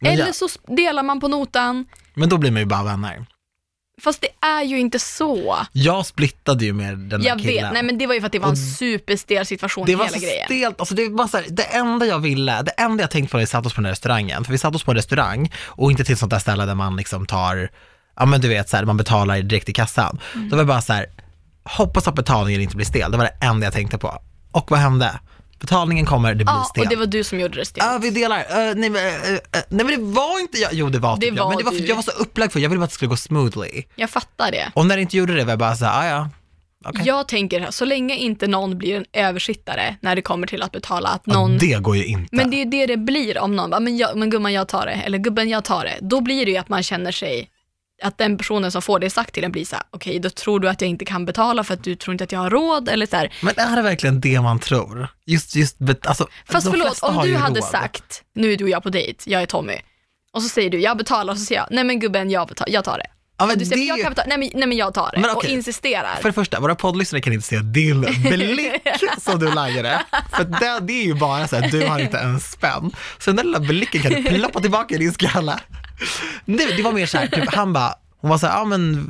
Speaker 1: men,
Speaker 2: Eller
Speaker 1: ja,
Speaker 2: så delar man på notan,
Speaker 1: men då blir man ju bara vänner.
Speaker 2: fast det är ju inte så.
Speaker 1: Jag splittade ju med den där
Speaker 2: Jag
Speaker 1: killen.
Speaker 2: vet, nej men det var ju för att det var en superstel situation,
Speaker 1: det var
Speaker 2: hela
Speaker 1: så
Speaker 2: grejen.
Speaker 1: stelt, alltså det, var så här, det enda jag ville, det enda jag tänkte på när vi satt oss på den där restaurangen, för vi satt oss på en restaurang och inte till sånt där ställe där man liksom tar, ja men du vet så här, man betalar direkt i kassan.
Speaker 2: Mm.
Speaker 1: Då var jag bara så här, hoppas att betalningen inte blir stel, det var det enda jag tänkte på. Och vad hände? Betalningen kommer, det blir
Speaker 2: Ja,
Speaker 1: stelt.
Speaker 2: och det var du som gjorde det stelt.
Speaker 1: Ja, vi delar. Eh, nej, men, eh, eh, nej men det var inte jag. Jo det var
Speaker 2: Det
Speaker 1: typ jag.
Speaker 2: var
Speaker 1: Men det var för,
Speaker 2: du.
Speaker 1: jag var så upplagd för, jag ville bara att det skulle gå smoothly.
Speaker 2: Jag fattar det.
Speaker 1: Och när det inte gjorde det var jag bara såhär, ah, ja. Okej.
Speaker 2: Jag tänker här, så länge inte någon blir en översittare när det kommer till att betala, att någon
Speaker 1: Det går ju inte.
Speaker 2: Men det är ju det det blir om någon bara, men, jag, men gumman jag tar det, eller gubben jag tar det. Då blir det ju att man känner sig, att den personen som får det sagt till en blir så här, okej då tror du att jag inte kan betala för att du tror inte att jag har råd eller så här.
Speaker 1: Men är det verkligen det man tror? Just, just, bet- alltså,
Speaker 2: Fast
Speaker 1: de
Speaker 2: förlåt,
Speaker 1: flesta
Speaker 2: om
Speaker 1: har
Speaker 2: du
Speaker 1: ju
Speaker 2: hade
Speaker 1: råd.
Speaker 2: sagt, nu är du och jag på dejt, jag är Tommy, och så säger du jag betalar och så säger jag, nej men gubben jag betalar, jag tar det.
Speaker 1: Ja, men
Speaker 2: Du säger,
Speaker 1: det-
Speaker 2: men jag, kan ta, nej, men, nej, men jag tar det
Speaker 1: Men
Speaker 2: och
Speaker 1: okej.
Speaker 2: insisterar.
Speaker 1: För det första, våra poddlyssnare kan inte se din
Speaker 2: *laughs*
Speaker 1: blick som du lagade. För det, det är ju bara så att du har inte en spänn. Så den där lilla blicken kan du ploppa tillbaka i din skalle. Nej, det var mer så här, typ, han bara, hon var så här, ja men,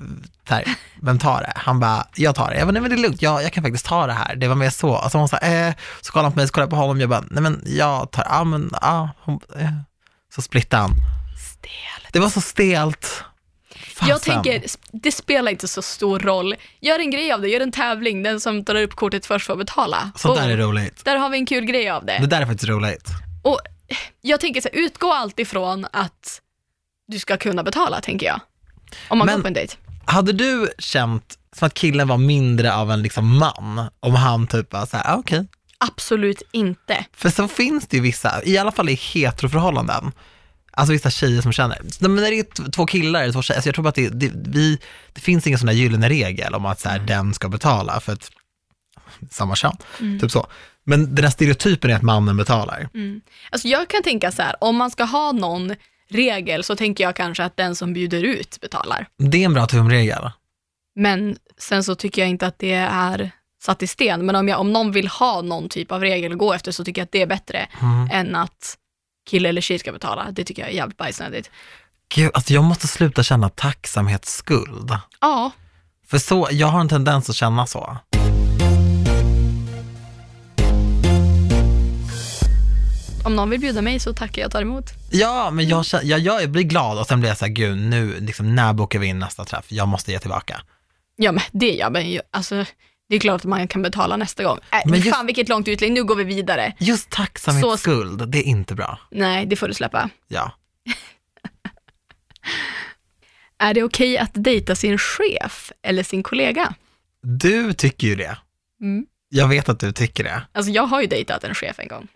Speaker 1: så här, vem tar det? Han bara, jag tar det. Jag bara, nej men det är lugnt, jag, jag kan faktiskt ta det här. Det var mer så. Alltså hon sa, eh, så kollade han på mig, så kollade jag på honom, jag bara, nej men jag tar, ja men, ja. Hon, eh. Så splittade han.
Speaker 2: Stelt.
Speaker 1: Det var så stelt.
Speaker 2: Jag
Speaker 1: Fasen.
Speaker 2: tänker, sp- det spelar inte så stor roll. Gör en grej av det, gör en tävling. Den som drar upp kortet först får betala.
Speaker 1: Sånt där
Speaker 2: Boom.
Speaker 1: är roligt.
Speaker 2: Där har vi en kul grej av det.
Speaker 1: Det där är faktiskt roligt.
Speaker 2: Och jag tänker så här, utgå alltid ifrån att du ska kunna betala, tänker jag. Om man
Speaker 1: Men-
Speaker 2: går på en dejt.
Speaker 1: Hade du känt som att killen var mindre av en liksom man om han typ var såhär, ah, okej.
Speaker 2: Absolut inte.
Speaker 1: För så finns det ju vissa, i alla fall i heteroförhållanden, alltså vissa tjejer som känner, Nej, men när det är t- två killar eller två tjejer, alltså jag tror att det, det, vi, det finns ingen sån där gyllene regel om att så här, den ska betala för att samma kön, typ så. Men den här stereotypen är att mannen betalar.
Speaker 2: Alltså jag kan tänka så här, om man ska ha någon regel så tänker jag kanske att den som bjuder ut betalar.
Speaker 1: Det är en bra tumregel.
Speaker 2: Men sen så tycker jag inte att det är satt i sten. Men om, jag, om någon vill ha någon typ av regel att gå efter så tycker jag att det är bättre
Speaker 1: Mm.
Speaker 2: än att kille eller tjej ska betala. Det tycker jag är jävligt bajsnödigt.
Speaker 1: Gud, alltså jag måste sluta känna tacksamhetsskuld.
Speaker 2: Ja,
Speaker 1: För så, jag har en tendens att känna så.
Speaker 2: om någon vill bjuda mig så tackar jag tar emot.
Speaker 1: Ja, men jag, känner- jag, jag blir glad och sen blir jag så här, gud nu, liksom, när bokar vi in nästa träff? Jag måste ge tillbaka.
Speaker 2: Ja men det gör man ju. Alltså, det är klart att man kan betala nästa gång. Äh,
Speaker 1: Men
Speaker 2: men
Speaker 1: just-
Speaker 2: Fan vilket långt utlägg, nu går vi vidare.
Speaker 1: Just
Speaker 2: Så-
Speaker 1: tacksamhetsskuld, det är inte bra.
Speaker 2: Nej, det får du släppa.
Speaker 1: Ja.
Speaker 2: Är det okej att dejta sin chef eller sin kollega?
Speaker 1: Du tycker ju det.
Speaker 2: Mm.
Speaker 1: Jag vet att du tycker det.
Speaker 2: Alltså jag har ju dejtat en chef en gång.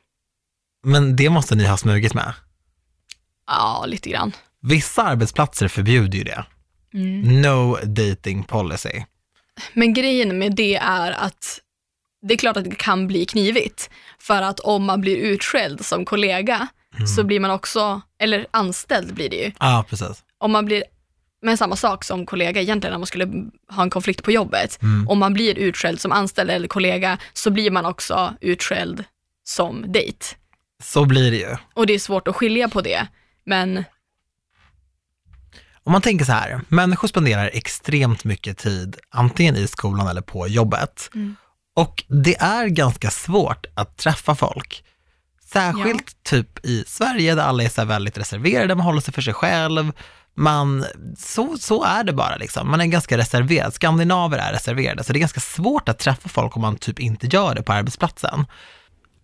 Speaker 1: Men det måste ni ha smugit med.
Speaker 2: Ja, lite grann.
Speaker 1: Vissa arbetsplatser förbjuder ju det. No dating policy.
Speaker 2: Men grejen med det är att det är klart att det kan bli knivigt. För att om man blir utskälld som kollega
Speaker 1: Mm.
Speaker 2: så blir man också, eller anställd blir det ju.
Speaker 1: Ja, ah, precis.
Speaker 2: Om man blir, men samma sak som kollega egentligen när man skulle ha en konflikt på jobbet.
Speaker 1: Mm.
Speaker 2: Om man blir utskälld som anställd eller kollega så blir man också utskälld som dejt.
Speaker 1: Så blir det ju.
Speaker 2: Och det är svårt att skilja på det. Men
Speaker 1: Om man tänker så här, människor spenderar extremt mycket tid antingen i skolan eller på jobbet. Och det är ganska svårt att träffa folk. Särskilt typ i Sverige där alla är så här väldigt reserverade, man håller sig för sig själv. Man, så, så är det bara liksom. Man är ganska reserverad. Skandinaver är reserverade, så det är ganska svårt att träffa folk om man typ inte gör det på arbetsplatsen.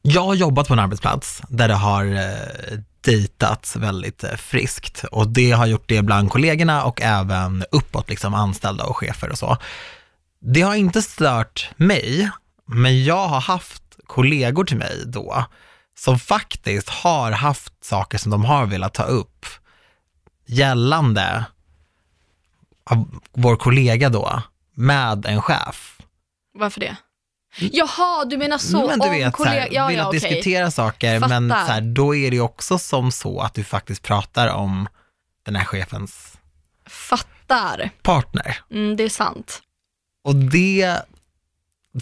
Speaker 1: Jag har jobbat på en arbetsplats där det har eh, dejtats väldigt eh, friskt och det har gjort det bland kollegorna och även uppåt, liksom anställda och chefer och så. Det har inte stört mig, men jag har haft kollegor till mig då som faktiskt har haft saker som de har velat ta upp gällande av vår kollega då med en chef.
Speaker 2: varför det? Jaha, du menar så.
Speaker 1: Mm. men du
Speaker 2: om
Speaker 1: vet, så
Speaker 2: kollega-
Speaker 1: här,
Speaker 2: ja,
Speaker 1: vill
Speaker 2: ja,
Speaker 1: att
Speaker 2: okej.
Speaker 1: diskutera saker,
Speaker 2: Fattar.
Speaker 1: men så här, då är det ju också som så att du faktiskt pratar om den här chefens
Speaker 2: Fattar.
Speaker 1: partner.
Speaker 2: Mm, det är sant.
Speaker 1: Och det,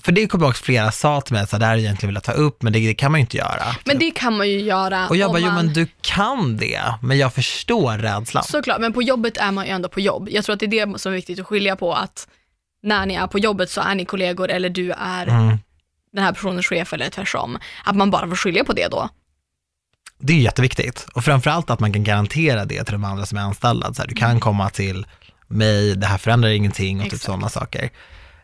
Speaker 1: för det kommer jag ihåg att flera sa till mig, att så här, det här hade jag egentligen velat ta upp, men det, det kan man ju inte göra.
Speaker 2: Men det kan man ju göra.
Speaker 1: och jag
Speaker 2: om
Speaker 1: bara, jo
Speaker 2: man...
Speaker 1: men du kan det, men jag förstår rädslan.
Speaker 2: Såklart, men på jobbet är man ju ändå på jobb. Jag tror att det är det som är viktigt att skilja på. Att när ni är på jobbet så är ni kollegor eller du är
Speaker 1: Mm.
Speaker 2: den här personens chef eller tvärtom. Att man bara får skilja på det då.
Speaker 1: Det är ju jätteviktigt. Och framförallt att man kan garantera det till de andra som är anställda. Så här, du kan komma till mig, det här förändrar ingenting och typ
Speaker 2: Mm. Exakt.
Speaker 1: sådana saker.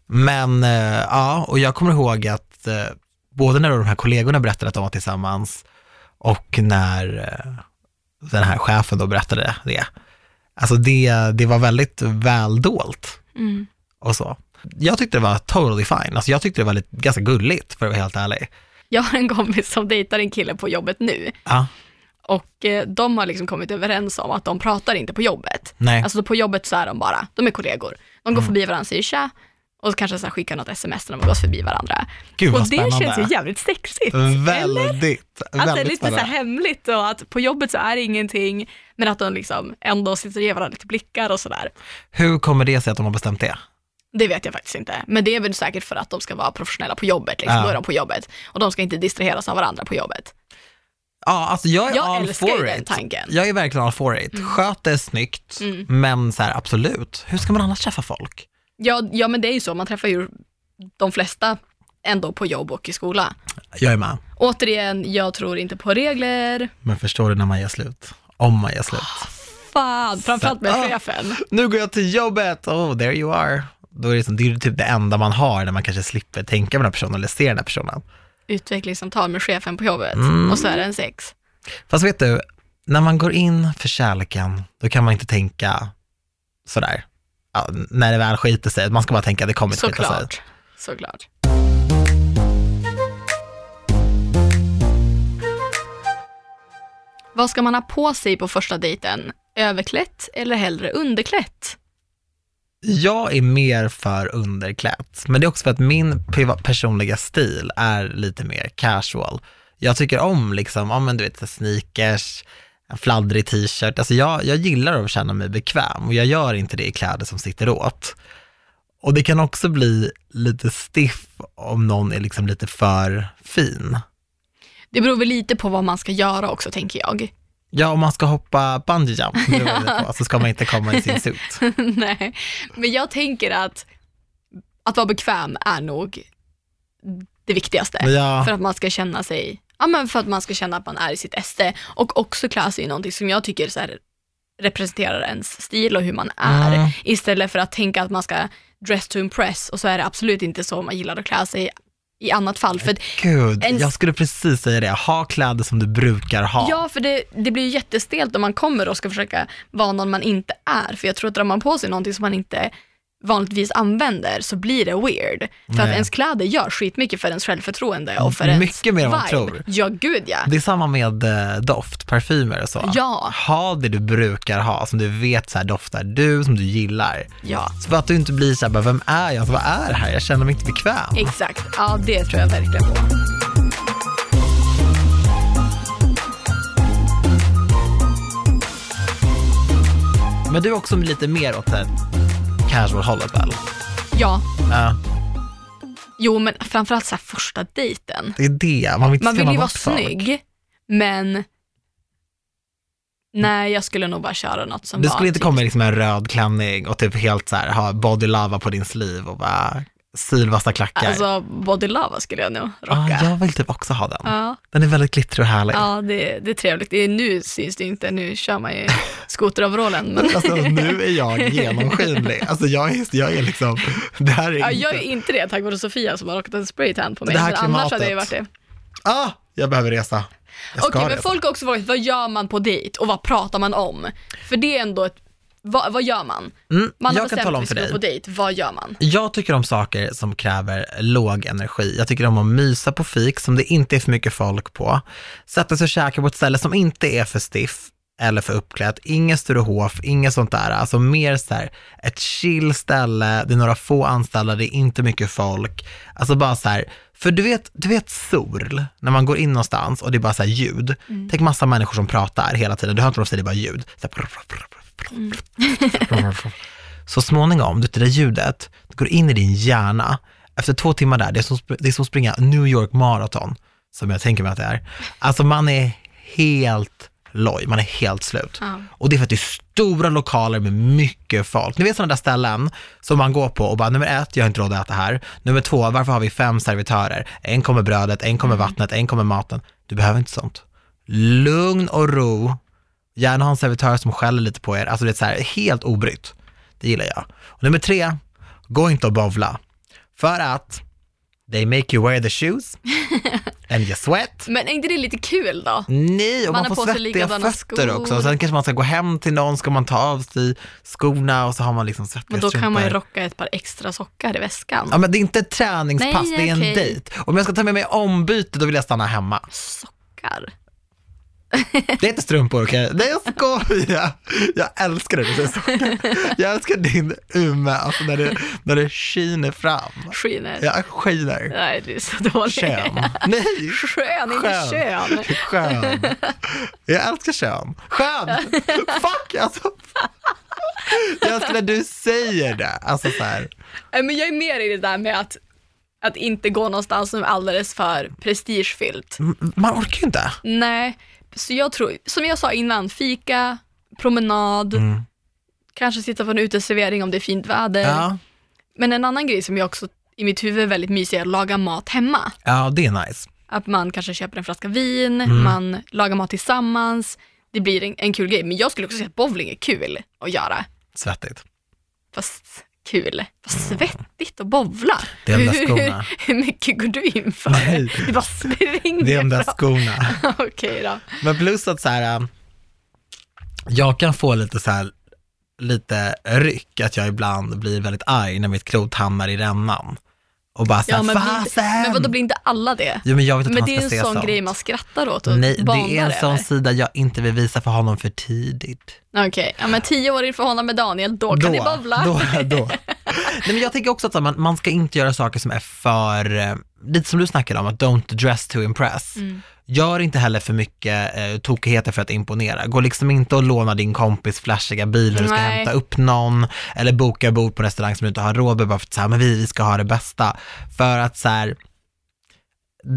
Speaker 1: Men eh, ja, och jag kommer ihåg att eh, både när de här kollegorna berättade att de var tillsammans och när eh, den här chefen då berättade det, alltså det, det var väldigt väl dolt
Speaker 2: Mm.
Speaker 1: och så. Jag tyckte det var totally fine, alltså jag tyckte det var lite, ganska gulligt för att vara helt ärlig.
Speaker 2: Jag har en kompis som dejtar en kille på jobbet nu
Speaker 1: Ja,
Speaker 2: och eh, de har liksom kommit överens om att de pratar inte på jobbet.
Speaker 1: nej, Mm.
Speaker 2: Alltså på jobbet så är de bara, de är kollegor. De går förbi varandra och säger tja Och så kanske så här skicka något sms när de gått förbi varandra.
Speaker 1: Gud vad
Speaker 2: och det
Speaker 1: spännande.
Speaker 2: känns ju jävligt sexigt.
Speaker 1: Väldigt,
Speaker 2: Att det är
Speaker 1: väldigt
Speaker 2: lite Alltså, så här
Speaker 1: spännande.
Speaker 2: hemligt och att på jobbet så är det ingenting, men att de liksom ändå sitter och ger varandra lite blickar och sådär.
Speaker 1: Hur kommer det sig att de har bestämt det?
Speaker 2: Det vet jag faktiskt inte, men det är väl säkert för att de ska vara professionella på jobbet, liksom.
Speaker 1: Ja.
Speaker 2: då är de på jobbet. Och de ska inte distraheras av varandra på jobbet.
Speaker 1: Ja, alltså jag är
Speaker 2: Jag
Speaker 1: all
Speaker 2: älskar ju
Speaker 1: for
Speaker 2: den
Speaker 1: it.
Speaker 2: tanken. Mm.
Speaker 1: Jag är verkligen all for it. Sköt det snyggt, men så här, absolut, hur ska man annars träffa folk?
Speaker 2: Ja, ja men det är ju så, man träffar ju de flesta ändå på jobb och i skola.
Speaker 1: Jag är med.
Speaker 2: Återigen, jag tror inte på regler.
Speaker 1: Men förstår du när man gör slut? Om man gör slut.
Speaker 2: Fan, framförallt med
Speaker 1: Ah.
Speaker 2: chefen.
Speaker 1: Nu går jag till jobbet, oh there you are. Då är det, liksom, det är ju typ det enda man har när man kanske slipper tänka på den här personen eller se den här personen.
Speaker 2: Utvecklingssamtal med chefen på jobbet
Speaker 1: Mm.
Speaker 2: och så är det en sex.
Speaker 1: Fast vet du, när man går in för kärleken, då kan man inte tänka sådär, ja, när det väl skiter sig, man ska bara tänka det kommer inte skita sig.
Speaker 2: Såklart. Såklart. Vad ska man ha på sig på första dejten? Överklätt eller hellre underklätt?
Speaker 1: Jag är mer för underklätt, men det är också för att min priva- personliga stil är lite mer casual. Jag tycker om liksom, ja men du vet, så sneakers, en fladdrig t-shirt. Alltså jag, jag gillar att känna mig bekväm och jag gör inte det i kläder som sitter åt. Och det kan också bli lite stiff om någon är liksom lite för fin.
Speaker 2: Det beror väl lite på vad man ska göra också tänker jag. *laughs*
Speaker 1: Ja, om man ska hoppa bungee jump, som du var inne på, så ska man inte komma i sin suit.
Speaker 2: Nej, men jag tänker att att vara bekväm är nog det viktigaste.
Speaker 1: Ja,
Speaker 2: För att man ska känna sig, ja men för att man ska känna att man är i sitt esse och också klä sig i någonting som jag tycker så här representerar ens stil och hur man är.
Speaker 1: Mm.
Speaker 2: Istället för att tänka att man ska dress to impress och så är det absolut inte så man gillar att klä sig i annat fall. *laughs* För att,
Speaker 1: gud,
Speaker 2: En-
Speaker 1: jag skulle precis säga det. Ha kläder som du brukar ha.
Speaker 2: ja, för det, det blir ju jättestelt om man kommer och ska försöka vara någon man inte är. För jag tror att drar man på sig någonting som man inte vanligtvis använder så blir det weird. För att
Speaker 1: Nej.
Speaker 2: ens kläder gör skitmycket för ens självförtroende och för
Speaker 1: Mycket
Speaker 2: ens
Speaker 1: mer än man
Speaker 2: vibe.
Speaker 1: tror.
Speaker 2: Ja, gud ja.
Speaker 1: Det är samma med eh, doft, parfymer och så.
Speaker 2: Ja.
Speaker 1: Ha det du brukar ha, som du vet så här doftar du, som du gillar.
Speaker 2: Ja.
Speaker 1: Så att du inte blir så här, bara, vem är jag? Alltså, vad är det här? Jag känner mig inte bekväm.
Speaker 2: Exakt, ja det tror jag verkligen på.
Speaker 1: Men du är också lite mer åt så här casual-hållet väl?
Speaker 2: Ja,
Speaker 1: Ja,
Speaker 2: jo men framförallt så här första dejten.
Speaker 1: det är det. Man vill inte
Speaker 2: Man vill
Speaker 1: skrämma
Speaker 2: ju vara
Speaker 1: bort folk.
Speaker 2: snygg, men nej jag skulle nog bara köra något som
Speaker 1: Du
Speaker 2: var
Speaker 1: skulle inte
Speaker 2: typ-
Speaker 1: komma i liksom en röd klänning och typ helt så här, ha body lava på din sleeve och bara sylvassa klackar.
Speaker 2: Alltså body lava skulle jag nog rocka.
Speaker 1: ah,
Speaker 2: ja.
Speaker 1: jag vill typ också ha den.
Speaker 2: Ja,
Speaker 1: Den är väldigt glittrig och härlig.
Speaker 2: det, det är trevligt. Det är, nu syns det inte, nu kör man
Speaker 1: *laughs*
Speaker 2: ju skoteroverallen. Men...
Speaker 1: Alltså nu är jag
Speaker 2: *laughs*
Speaker 1: genomskinlig. Alltså jag är, jag är liksom, det här är
Speaker 2: Ja,
Speaker 1: inte...
Speaker 2: jag är inte det tack vare Sofia som har rockat en spraytan på mig.
Speaker 1: Det här
Speaker 2: men annars hade jag ju varit
Speaker 1: klimatet.
Speaker 2: det.
Speaker 1: Ah, jag behöver resa. Jag ska
Speaker 2: Okej, men
Speaker 1: resa.
Speaker 2: folk har också frågat vad gör man på dejt och vad pratar man om? För det är ändå ett, vad, vad gör man?
Speaker 1: Mm,
Speaker 2: Man har
Speaker 1: jag kan
Speaker 2: bestämt
Speaker 1: tala om
Speaker 2: att vi
Speaker 1: för
Speaker 2: ska gå
Speaker 1: dig.
Speaker 2: på dejt, vad gör man?
Speaker 1: Jag tycker om saker som kräver låg energi. Jag tycker om att mysa på fik som det inte är för mycket folk på. Sätta sig och käka på ett ställe som inte är för stiff eller för uppklätt. Inget Sturehof, inget sånt där. Alltså mer så här, ett chill ställe, det är några få anställda, det är inte mycket folk. Alltså bara så här, för du vet, du vet sol, när man går in någonstans och det är bara så här ljud. Tänk massa människor som pratar hela tiden, du hör inte vad de säger, det är bara ljud. Så här, så småningom, du till det ljudet, det går in i din hjärna. Efter två timmar där, det är som, sp- det är som att springa New York Marathon, som jag tänker mig att det är. Alltså man är helt loj, man är helt slut.
Speaker 2: Ja.
Speaker 1: Och det är för att det är stora lokaler med mycket folk. Ni vet sådana där ställen som man går på och bara, nummer ett, jag har inte råd att äta här. Nummer två, varför har vi fem servitörer? En kommer brödet, en kommer vattnet, en kommer maten. Du behöver inte sånt. Lugn och ro, gärna ha en servitör som skäller lite på er. Alltså det är så här, helt obrytt. Det gillar jag. Och nummer tre, gå inte och bovla. För att they make you wear the
Speaker 2: *laughs*
Speaker 1: shoes and you sweat.
Speaker 2: Men är inte det lite kul då?
Speaker 1: Nej, och
Speaker 2: Man
Speaker 1: man,
Speaker 2: har
Speaker 1: får
Speaker 2: på sig
Speaker 1: svettiga
Speaker 2: likadana
Speaker 1: fötter
Speaker 2: skor.
Speaker 1: också. Sen kanske man ska gå hem till någon, ska man ta av sig skorna och så har man liksom svettiga
Speaker 2: Men då kan man ju
Speaker 1: strumpor.
Speaker 2: rocka ett par extra sockar i väskan.
Speaker 1: Ja men det är inte ett träningspass,
Speaker 2: Nej,
Speaker 1: det är en
Speaker 2: okej.
Speaker 1: dejt. Om jag ska ta med mig ombyte, då vill jag stanna hemma.
Speaker 2: Sockar?
Speaker 1: Det heter strumpor, okej? Nej, jag skojar! Jag älskar det du säger så. Jag älskar din ume, alltså när det, när det skiner fram.
Speaker 2: Skiner.
Speaker 1: Jag skiner.
Speaker 2: Nej, du är så dålig.
Speaker 1: Kön.
Speaker 2: *laughs*
Speaker 1: Nej!
Speaker 2: Skön, inte
Speaker 1: Skön.
Speaker 2: kön.
Speaker 1: Skön. Jag älskar kön. Skön! Fuck alltså. Jag älskar när du säger det. Alltså så här.
Speaker 2: Nej, Men jag är mer i det där med att, att inte gå någonstans som är alldeles för prestigefyllt.
Speaker 1: Man orkar ju inte.
Speaker 2: Nej, så jag tror, som jag sa innan, fika, promenad,
Speaker 1: Mm.
Speaker 2: kanske sitta på en uteservering om det är fint väder.
Speaker 1: Ja,
Speaker 2: Men en annan grej som jag också i mitt huvud är väldigt mysig är att laga mat hemma.
Speaker 1: ja det är nice.
Speaker 2: Att man kanske köper en flaska vin,
Speaker 1: Mm.
Speaker 2: man lagar mat tillsammans. Det blir en, en kul grej. Men jag skulle också säga att bowling är kul att göra.
Speaker 1: Svettigt.
Speaker 2: Fast kul. Fast svettigt att bowla.
Speaker 1: Det är de där
Speaker 2: Hur-
Speaker 1: skorna.
Speaker 2: *laughs* Hur mycket går du in för?
Speaker 1: Nej.
Speaker 2: Du bara springer
Speaker 1: Det är de där
Speaker 2: fram.
Speaker 1: skorna.
Speaker 2: *laughs* Okej då.
Speaker 1: Men plus att så här, äh, jag kan få lite så här, lite ryck, att jag ibland blir väldigt arg när mitt klot hamnar i rännan. Och bara så här,
Speaker 2: Ja, men, blir,
Speaker 1: fasen!
Speaker 2: men vadå, blir inte alla det?
Speaker 1: Jo, men jag vet att
Speaker 2: Men
Speaker 1: han
Speaker 2: det
Speaker 1: ska
Speaker 2: är en
Speaker 1: se
Speaker 2: sån
Speaker 1: sånt.
Speaker 2: grej man skrattar åt och
Speaker 1: Nej, det är
Speaker 2: banar
Speaker 1: en sån
Speaker 2: över.
Speaker 1: sida jag inte vill visa för honom för tidigt.
Speaker 2: Okej, ja, men tio år i förhållande med Daniel, då kan ni babbla.
Speaker 1: Då,
Speaker 2: *laughs*
Speaker 1: då. Nej, men jag tänker också att så här, man, man ska inte göra saker som är för, eh, lite som du snackade om, att don't dress to impress.
Speaker 2: Mm.
Speaker 1: Gör inte heller för mycket eh, tokigheter för att imponera. Gå liksom inte och låna din kompis flashiga bil när du ska
Speaker 2: Nej.
Speaker 1: hämta upp någon, eller boka bord på en restaurang som du inte har råd med bara för att så här, men vi, vi ska ha det bästa. För att så här,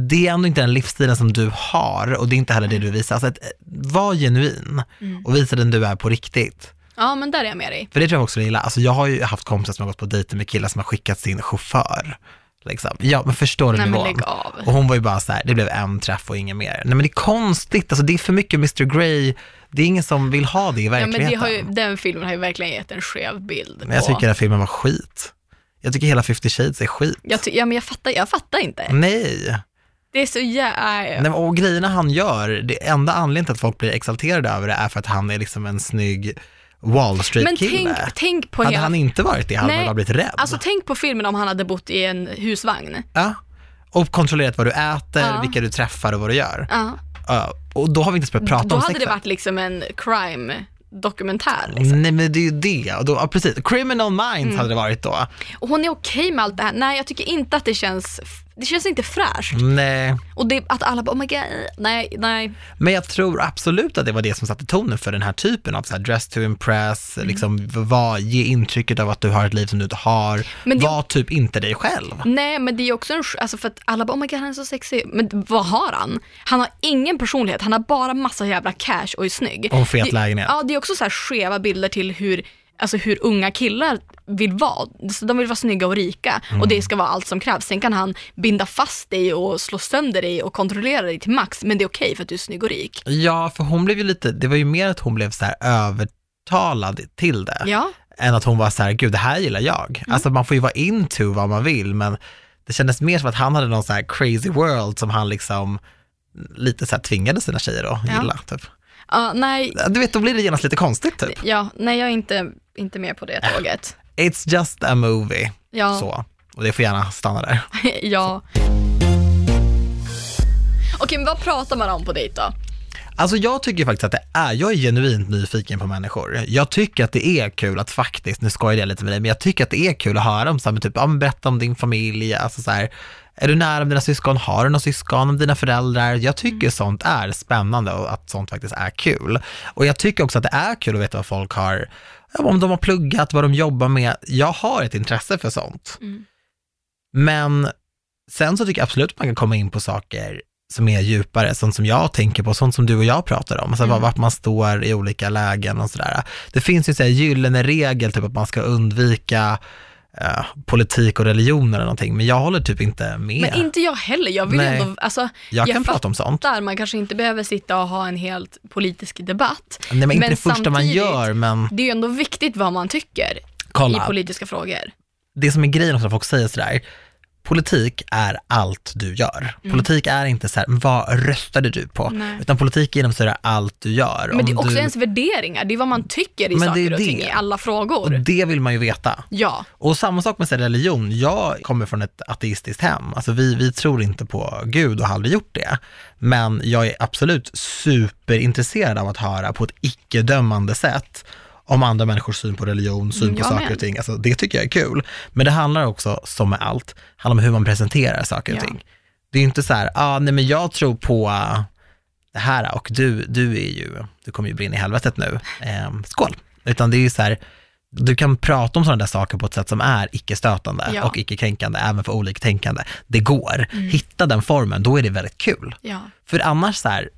Speaker 1: det är ändå inte den livsstilen som du har och det är inte heller det du visar. Alltså, att, eh, var genuin
Speaker 2: Mm.
Speaker 1: och visa den du är på riktigt.
Speaker 2: Ja, men där är jag med dig.
Speaker 1: För det tror jag också är illa. Alltså jag har ju haft kompisar som har gått på dejter med killar som har skickat sin chaufför. Liksom. Ja, men förstår du
Speaker 2: Nej, men
Speaker 1: nivån?
Speaker 2: lägg av.
Speaker 1: Och hon var ju bara så här, det blev en träff och ingen mer. Nej men det är konstigt, alltså det är för mycket Mr Grey, det är ingen som vill ha det i
Speaker 2: Ja,
Speaker 1: verkligheten.
Speaker 2: men det har ju, den filmen har ju verkligen gett en skev bild.
Speaker 1: Men jag
Speaker 2: på-
Speaker 1: tycker att filmen var skit. Jag tycker hela 50 shades är skit.
Speaker 2: jag, ty- ja, men jag, fattar, jag fattar inte.
Speaker 1: Nej.
Speaker 2: Det är så äh, jävla...
Speaker 1: Nej, men- och grejerna han gör, det enda anledningen till att folk blir exalterade över det är för att han är liksom en snygg Wall
Speaker 2: Men
Speaker 1: Street-kille.
Speaker 2: tänk, tänk på
Speaker 1: Hade
Speaker 2: hela...
Speaker 1: han inte varit det hade
Speaker 2: Nej,
Speaker 1: man bara blivit rädd.
Speaker 2: Alltså tänk på filmen om han hade bott i en husvagn.
Speaker 1: Ja. Och kontrollerat vad du äter,
Speaker 2: Ja.
Speaker 1: vilka du träffar och vad du gör.
Speaker 2: Ja.
Speaker 1: Ja. Och då har vi inte ens börjat prata
Speaker 2: Då
Speaker 1: om
Speaker 2: hade
Speaker 1: sexet.
Speaker 2: det varit liksom en crime-dokumentär. Liksom. Mm.
Speaker 1: Nej men det är ju det. Och då, ja, precis. Criminal Minds hade det varit då.
Speaker 2: Och hon är okej med allt det här. Nej, jag tycker inte att det känns... Det känns inte fräscht.
Speaker 1: Nej.
Speaker 2: Och det, att alla bara, oh my god, nej, nej.
Speaker 1: Men jag tror absolut att det var det som satte tonen för den här typen av så här, dress to impress,
Speaker 2: Mm.
Speaker 1: liksom, vad, ge intrycket av att du har ett liv som du inte har.
Speaker 2: Men det-
Speaker 1: Var typ inte dig själv.
Speaker 2: Nej, men det är också en... sk- Alltså för att alla bara, oh my god, han är så sexig. Men vad har han? Han har ingen personlighet, han har bara massa jävla cash och är snygg.
Speaker 1: Och en fet
Speaker 2: Det-
Speaker 1: lägenhet.
Speaker 2: Ja, det är också så här skeva bilder till hur, alltså hur unga killar vill vara. Så de vill vara snygga och rika
Speaker 1: Mm.
Speaker 2: och det ska vara allt som krävs. Sen kan han binda fast dig och slå sönder dig och kontrollera dig till max, men det är okej för att du är snygg och rik.
Speaker 1: Ja, för hon blev ju lite, det var ju mer att hon blev så här övertalad till det.
Speaker 2: Ja,
Speaker 1: än att hon var så här, gud det här gillar jag.
Speaker 2: Mm.
Speaker 1: Alltså man får ju vara into vad man vill, men det kändes mer som att han hade någon så här crazy world som han liksom lite så här tvingade sina tjejer att
Speaker 2: Ja.
Speaker 1: gilla. Typ.
Speaker 2: Ja, nej,
Speaker 1: Du vet, då blir det genast lite konstigt typ.
Speaker 2: ja, nej, jag är inte, inte med på det tåget.
Speaker 1: It's just a movie,
Speaker 2: Ja.
Speaker 1: Äh. så. Och det får gärna stanna där.
Speaker 2: *laughs* ja. Okej, men vad pratar man om på dejt då?
Speaker 1: Alltså jag tycker faktiskt att det är, jag är genuint nyfiken på människor. Jag tycker att det är kul att faktiskt, nu skojar jag lite med dig, men jag tycker att det är kul att höra om så här, men typ, ja, men berätta om din familj, alltså så här, är du nära med dina syskon, har du några syskon, om dina föräldrar? Jag tycker sånt är spännande och att sånt faktiskt är kul. Och jag tycker också att det är kul att veta vad folk har, ja, om de har pluggat, vad de jobbar med. Jag har ett intresse för sånt. Men Sen så tycker jag absolut att man kan komma in på saker som är djupare, sånt som jag tänker på, sånt som du och jag pratar om, alltså var- vart man står i olika lägen och sådär. Det finns ju en gyllene regel, typ att man ska undvika eh, politik och religion eller någonting, men jag håller typ inte med.
Speaker 2: Men inte jag heller, jag vill
Speaker 1: Nej.
Speaker 2: ju ändå, alltså,
Speaker 1: jag kan
Speaker 2: jag
Speaker 1: prata om sånt.
Speaker 2: fattar, man kanske inte behöver sitta och ha en helt politisk debatt.
Speaker 1: Nej, men inte det första man
Speaker 2: samtidigt,
Speaker 1: gör, men
Speaker 2: Det är ju ändå viktigt vad man tycker i
Speaker 1: kolla.
Speaker 2: politiska frågor.
Speaker 1: det som är grejen också när folk säger sådär, politik är allt du gör. Politik är inte så här, vad röstade du på?
Speaker 2: Mm. Nej.
Speaker 1: Utan politik genomsyrar allt du gör.
Speaker 2: Men det
Speaker 1: Om
Speaker 2: är också
Speaker 1: du,
Speaker 2: ens värderingar, det är vad man tycker i
Speaker 1: Men det
Speaker 2: saker
Speaker 1: är
Speaker 2: och ting
Speaker 1: det.
Speaker 2: i alla
Speaker 1: och
Speaker 2: frågor.
Speaker 1: det vill man ju veta.
Speaker 2: Ja,
Speaker 1: Och samma sak med så här religion. Jag kommer från ett ateistiskt hem. Alltså vi, vi tror inte på Gud och har aldrig gjort det. Men jag är absolut superintresserad av att höra på ett icke-dömande sätt om andra människors syn på religion, syn
Speaker 2: Mm,
Speaker 1: på
Speaker 2: jag
Speaker 1: saker
Speaker 2: med.
Speaker 1: och ting. Alltså, det tycker jag är kul. Men det handlar också, som med allt, handlar om hur man presenterar saker och
Speaker 2: Ja.
Speaker 1: ting. Det är ju inte så här, ah, nej men jag tror på ah, det här och du, du är ju, du kommer ju brinna i helvetet nu, ehm, skål. Utan det är ju så här, du kan prata om sådana där saker på ett sätt som är icke-stötande
Speaker 2: Ja.
Speaker 1: och icke-kränkande, även för oliktänkande. Det går. Hitta den formen, då är det väldigt kul.
Speaker 2: ja.
Speaker 1: För annars så här,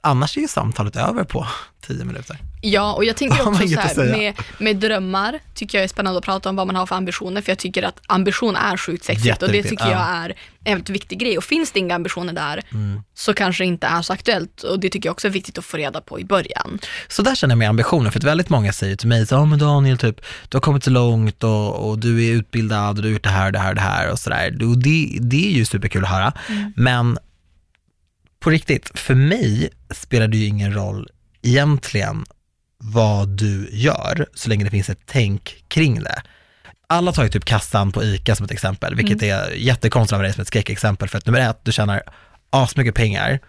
Speaker 1: annars är ju samtalet över på tio minuter.
Speaker 2: Ja, och jag tänker
Speaker 1: Har man
Speaker 2: också så
Speaker 1: inget att
Speaker 2: här,
Speaker 1: säga?
Speaker 2: med, med drömmar tycker jag är spännande att prata om vad man har för ambitioner, för jag tycker att ambition är sjukt sexigt och det
Speaker 1: Jätteviktigt,
Speaker 2: tycker
Speaker 1: ja. Mm.
Speaker 2: jag är en väldigt viktig grej. Och finns det inga ambitioner där så kanske det inte är så aktuellt och det tycker jag också är viktigt att få reda på i början.
Speaker 1: Så där känner jag med ambitionen, för att väldigt många säger till mig så, ja men Daniel, typ, du har kommit så långt och, och du är utbildad och du har gjort det här och det här och det här och sådär. Och det, det är ju superkul att höra, men på riktigt, för mig spelar det ju ingen roll egentligen vad du gör, så länge det finns ett tänk kring det. Alla tar ju typ kassan på ICA som ett exempel, vilket är jättekonstigt av dig som ett skräckexempel, för att nummer ett, du tjänar asmycket pengar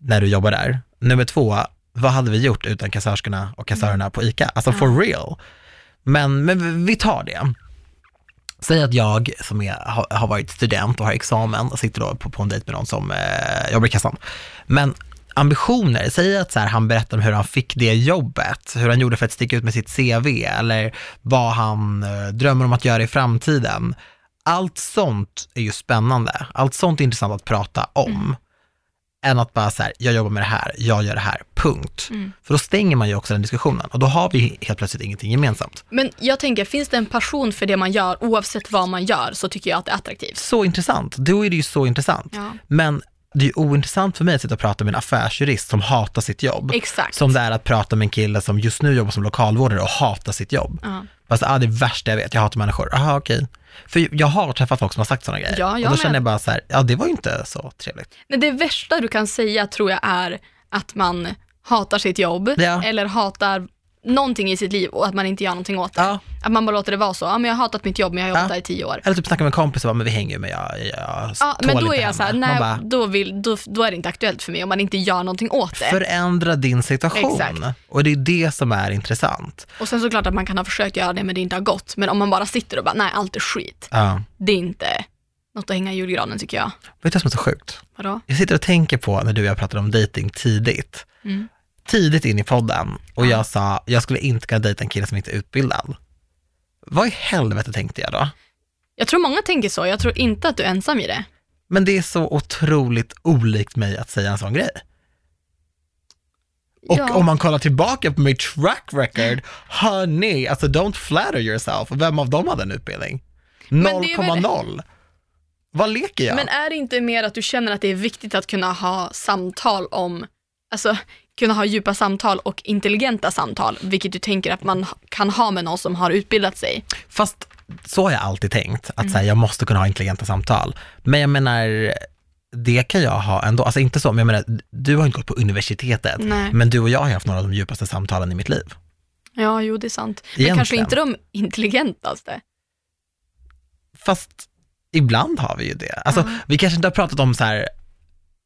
Speaker 1: när du jobbar där. Nummer två, vad hade vi gjort utan kassörskorna och kassörerna på ICA? Alltså for real. Men, men vi tar det. Säg att jag som är, har- har varit student och har examen och sitter då på, på en dejt med någon som eh, jobbar i kassan. Men ambitioner, säg att så här, han berättar om hur han fick det jobbet, hur han gjorde för att sticka ut med sitt CV eller vad han eh, drömmer om att göra i framtiden. Allt sånt är ju spännande, allt sånt är intressant att prata om än att bara så här, jag jobbar med det här, jag gör det här, punkt. För då stänger man ju också den diskussionen och då har vi helt plötsligt ingenting gemensamt.
Speaker 2: Men jag tänker, finns det en passion för det man gör, oavsett vad man gör, så tycker jag att det är attraktivt.
Speaker 1: Så intressant, då är det ju så intressant.
Speaker 2: Ja.
Speaker 1: Men det är ju ointressant för mig att sitta och prata med en affärsjurist som hatar sitt jobb.
Speaker 2: Exakt.
Speaker 1: Som det är att prata med en kille som just nu jobbar som lokalvårdare och hatar sitt jobb.
Speaker 2: Ja.
Speaker 1: Fast ah, det är det värsta jag vet, jag hatar människor. Aha, okej. För jag har träffat folk som har sagt sådana grejer.
Speaker 2: Ja, jag
Speaker 1: och då
Speaker 2: med.
Speaker 1: känner jag bara så här, ja det var ju inte så trevligt.
Speaker 2: Men det värsta du kan säga tror jag är att man hatar sitt jobb
Speaker 1: Ja.
Speaker 2: eller hatar någonting i sitt liv och att man inte gör någonting åt det.
Speaker 1: Ja.
Speaker 2: Att man bara låter det vara så. Ja, men jag har hatat mitt jobb men jag har jobbat
Speaker 1: Ja.
Speaker 2: där i tio år.
Speaker 1: Eller typ snacka med en kompis och bara, men vi hänger ju men jag, jag
Speaker 2: Ja,
Speaker 1: tål
Speaker 2: men då
Speaker 1: inte
Speaker 2: är
Speaker 1: henne.
Speaker 2: jag så här,
Speaker 1: Man
Speaker 2: nej,
Speaker 1: bara,
Speaker 2: då, vill, då, då är det inte aktuellt för mig om man inte gör någonting åt det.
Speaker 1: Förändra din situation.
Speaker 2: Exakt.
Speaker 1: Och det är det som är intressant.
Speaker 2: Och sen såklart att man kan ha försökt göra det men det inte har gått. Men om man bara sitter och bara, nej allt är skit.
Speaker 1: Ja.
Speaker 2: Det är inte något att hänga i julgranen tycker jag.
Speaker 1: Ah, Vet du vad som är så sjukt?
Speaker 2: Vadå?
Speaker 1: Jag sitter och tänker på när du och jag pratade om dating tidigt.
Speaker 2: Mm.
Speaker 1: Tidigt in i podden och jag sa, jag skulle inte kunna dejta en kille som inte är utbildad. Vad i helvete tänkte jag då?
Speaker 2: Jag tror många tänker så, jag tror inte att du är ensam i det.
Speaker 1: Men det är så otroligt olikt mig att säga en sån grej. Och
Speaker 2: Ja.
Speaker 1: om man kollar tillbaka på mitt track record, hörni, alltså don't flatter yourself. Vem av dem hade en utbildning?
Speaker 2: det är väl-
Speaker 1: 0,0. Vad leker jag?
Speaker 2: Men är det inte mer att du känner att det är viktigt att kunna ha samtal om, alltså kunna ha djupa samtal och intelligenta samtal, vilket du tänker att man kan ha med någon som har utbildat sig?
Speaker 1: Fast så har jag alltid tänkt, att
Speaker 2: Mm.
Speaker 1: så här, jag måste kunna ha intelligenta samtal. Men jag menar, det kan jag ha ändå. Alltså inte så, men jag menar, du har inte gått på universitetet,
Speaker 2: Nej.
Speaker 1: men du och jag har haft några av de djupaste samtalen i mitt liv.
Speaker 2: Ja, jo det är sant.
Speaker 1: Egentligen.
Speaker 2: Men kanske inte de intelligentaste.
Speaker 1: Fast ibland har vi ju det. Alltså, vi kanske inte har pratat om så här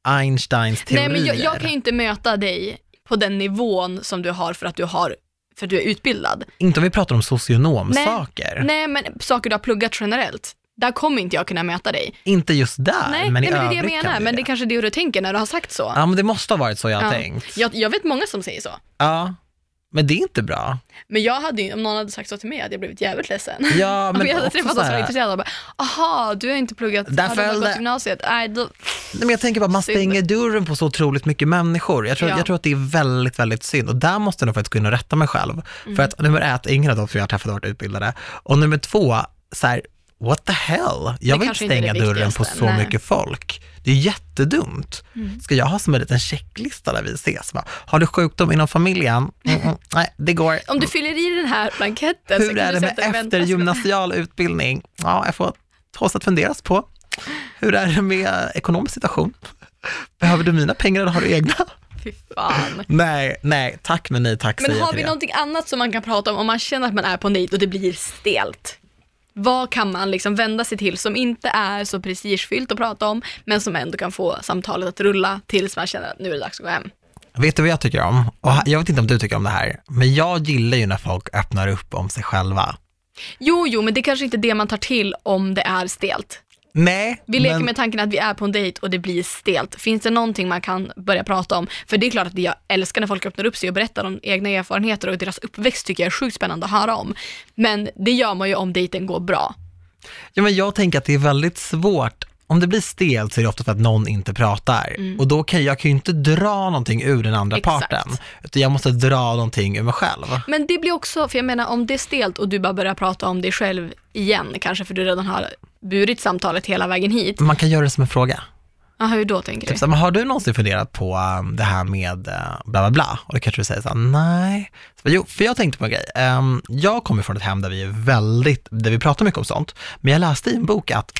Speaker 1: Einsteins teorier.
Speaker 2: Nej men jag, jag kan ju inte möta dig på den nivån som du har för att du, har, för att du är utbildad.
Speaker 1: Inte om vi pratar om socionomsaker.
Speaker 2: Nej men saker du har pluggat generellt, där kommer inte jag kunna möta dig.
Speaker 1: Inte just där,
Speaker 2: Nej,
Speaker 1: men i
Speaker 2: nej men det är det
Speaker 1: övrigt
Speaker 2: jag menar,
Speaker 1: kan vi
Speaker 2: men
Speaker 1: det.
Speaker 2: det är kanske är det du tänker när du har sagt så.
Speaker 1: Ja, men det måste ha varit så jag har
Speaker 2: Ja.
Speaker 1: tänkt.
Speaker 2: Jag, jag vet många som säger så.
Speaker 1: Ja, men det är inte bra.
Speaker 2: Men jag hade ju, om någon hade sagt så till mig hade jag blivit jävligt ledsen.
Speaker 1: Ja, men
Speaker 2: *laughs* Om Alltså, jag hade
Speaker 1: också
Speaker 2: träffat
Speaker 1: så
Speaker 2: någon som var
Speaker 1: här-
Speaker 2: intresserad och bara, aha, du har inte pluggat,
Speaker 1: Där
Speaker 2: har du bara
Speaker 1: föll det.
Speaker 2: gått gymnasiet? Nej, då,
Speaker 1: Nej, men jag tänker bara, man
Speaker 2: Synd.
Speaker 1: stänger dörren på så otroligt mycket människor. Jag tror,
Speaker 2: Ja.
Speaker 1: jag tror att det är väldigt, väldigt synd. Och där måste jag nog faktiskt gå in och rätta mig själv.
Speaker 2: Mm.
Speaker 1: För att nummer ett, ingen av de som jag har träffat har varit utbildade. Och nummer två, så här, what the hell? Jag vill inte
Speaker 2: kanske inte är
Speaker 1: stänga
Speaker 2: det
Speaker 1: dörren på
Speaker 2: viktigaste,
Speaker 1: så
Speaker 2: nej. Mm.
Speaker 1: mycket folk. Det är jättedumt. Ska jag ha som en liten checklista där vi ses? Va? Har du sjukdom inom familjen? Mm, mm, nej, det går.
Speaker 2: om du fyller i den här blanketten så
Speaker 1: Hur
Speaker 2: kan
Speaker 1: är
Speaker 2: du
Speaker 1: det med
Speaker 2: sätta dig och vänta. Alltså,
Speaker 1: eftergymnasial utbildning? Ja, jag får oss att funderas på. Hur är det med ekonomisk situation? Behöver du mina pengar eller har du egna?
Speaker 2: Fy fan.
Speaker 1: Nej, nej, tack men nej tack
Speaker 2: Men
Speaker 1: säger jag
Speaker 2: har
Speaker 1: till
Speaker 2: vi
Speaker 1: det.
Speaker 2: någonting annat som man kan prata om om man känner att man är på en dejt och det blir stelt? Vad kan man liksom vända sig till som inte är så prestigefyllt att prata om men som ändå kan få samtalet att rulla tills man känner att nu är det dags att gå hem?
Speaker 1: Vet du vad jag tycker om? Och ha- jag vet inte om du tycker om det här, men jag gillar ju när folk öppnar upp om sig själva.
Speaker 2: Jo, jo, men det är kanske inte är det man tar till om det är stelt.
Speaker 1: Nej,
Speaker 2: Vi leker
Speaker 1: men,
Speaker 2: med tanken att vi är på en dejt och det blir stelt. Finns det någonting man kan börja prata om? För det är klart att jag älskar när folk öppnar upp sig och berättar om egna erfarenheter och deras uppväxt tycker jag är sjukt spännande att höra om. Men det gör man ju om dejten går bra.
Speaker 1: ja, men jag tänker att det är väldigt svårt. Om det blir stelt så är det ofta för att någon inte pratar. Och då kan jag kan ju inte dra någonting ur den andra
Speaker 2: Mm. Exakt.
Speaker 1: parten, utan jag måste dra någonting ur mig själv.
Speaker 2: Men det blir också, för jag menar om det är stelt och du bara börjar prata om dig själv igen, kanske för du redan har burit samtalet hela vägen hit.
Speaker 1: Man kan göra det som en fråga.
Speaker 2: Ja, hur då tänker du?
Speaker 1: Typ så här, men har du någonsin funderat på um, det här med eh, bla bla bla? Och då kanske du säger så här, nej. Så, bara, jo, för jag tänkte på en grej. Ehm, jag kommer från ett hem där vi är väldigt, där vi pratar mycket om sånt. Men jag läste i en bok att,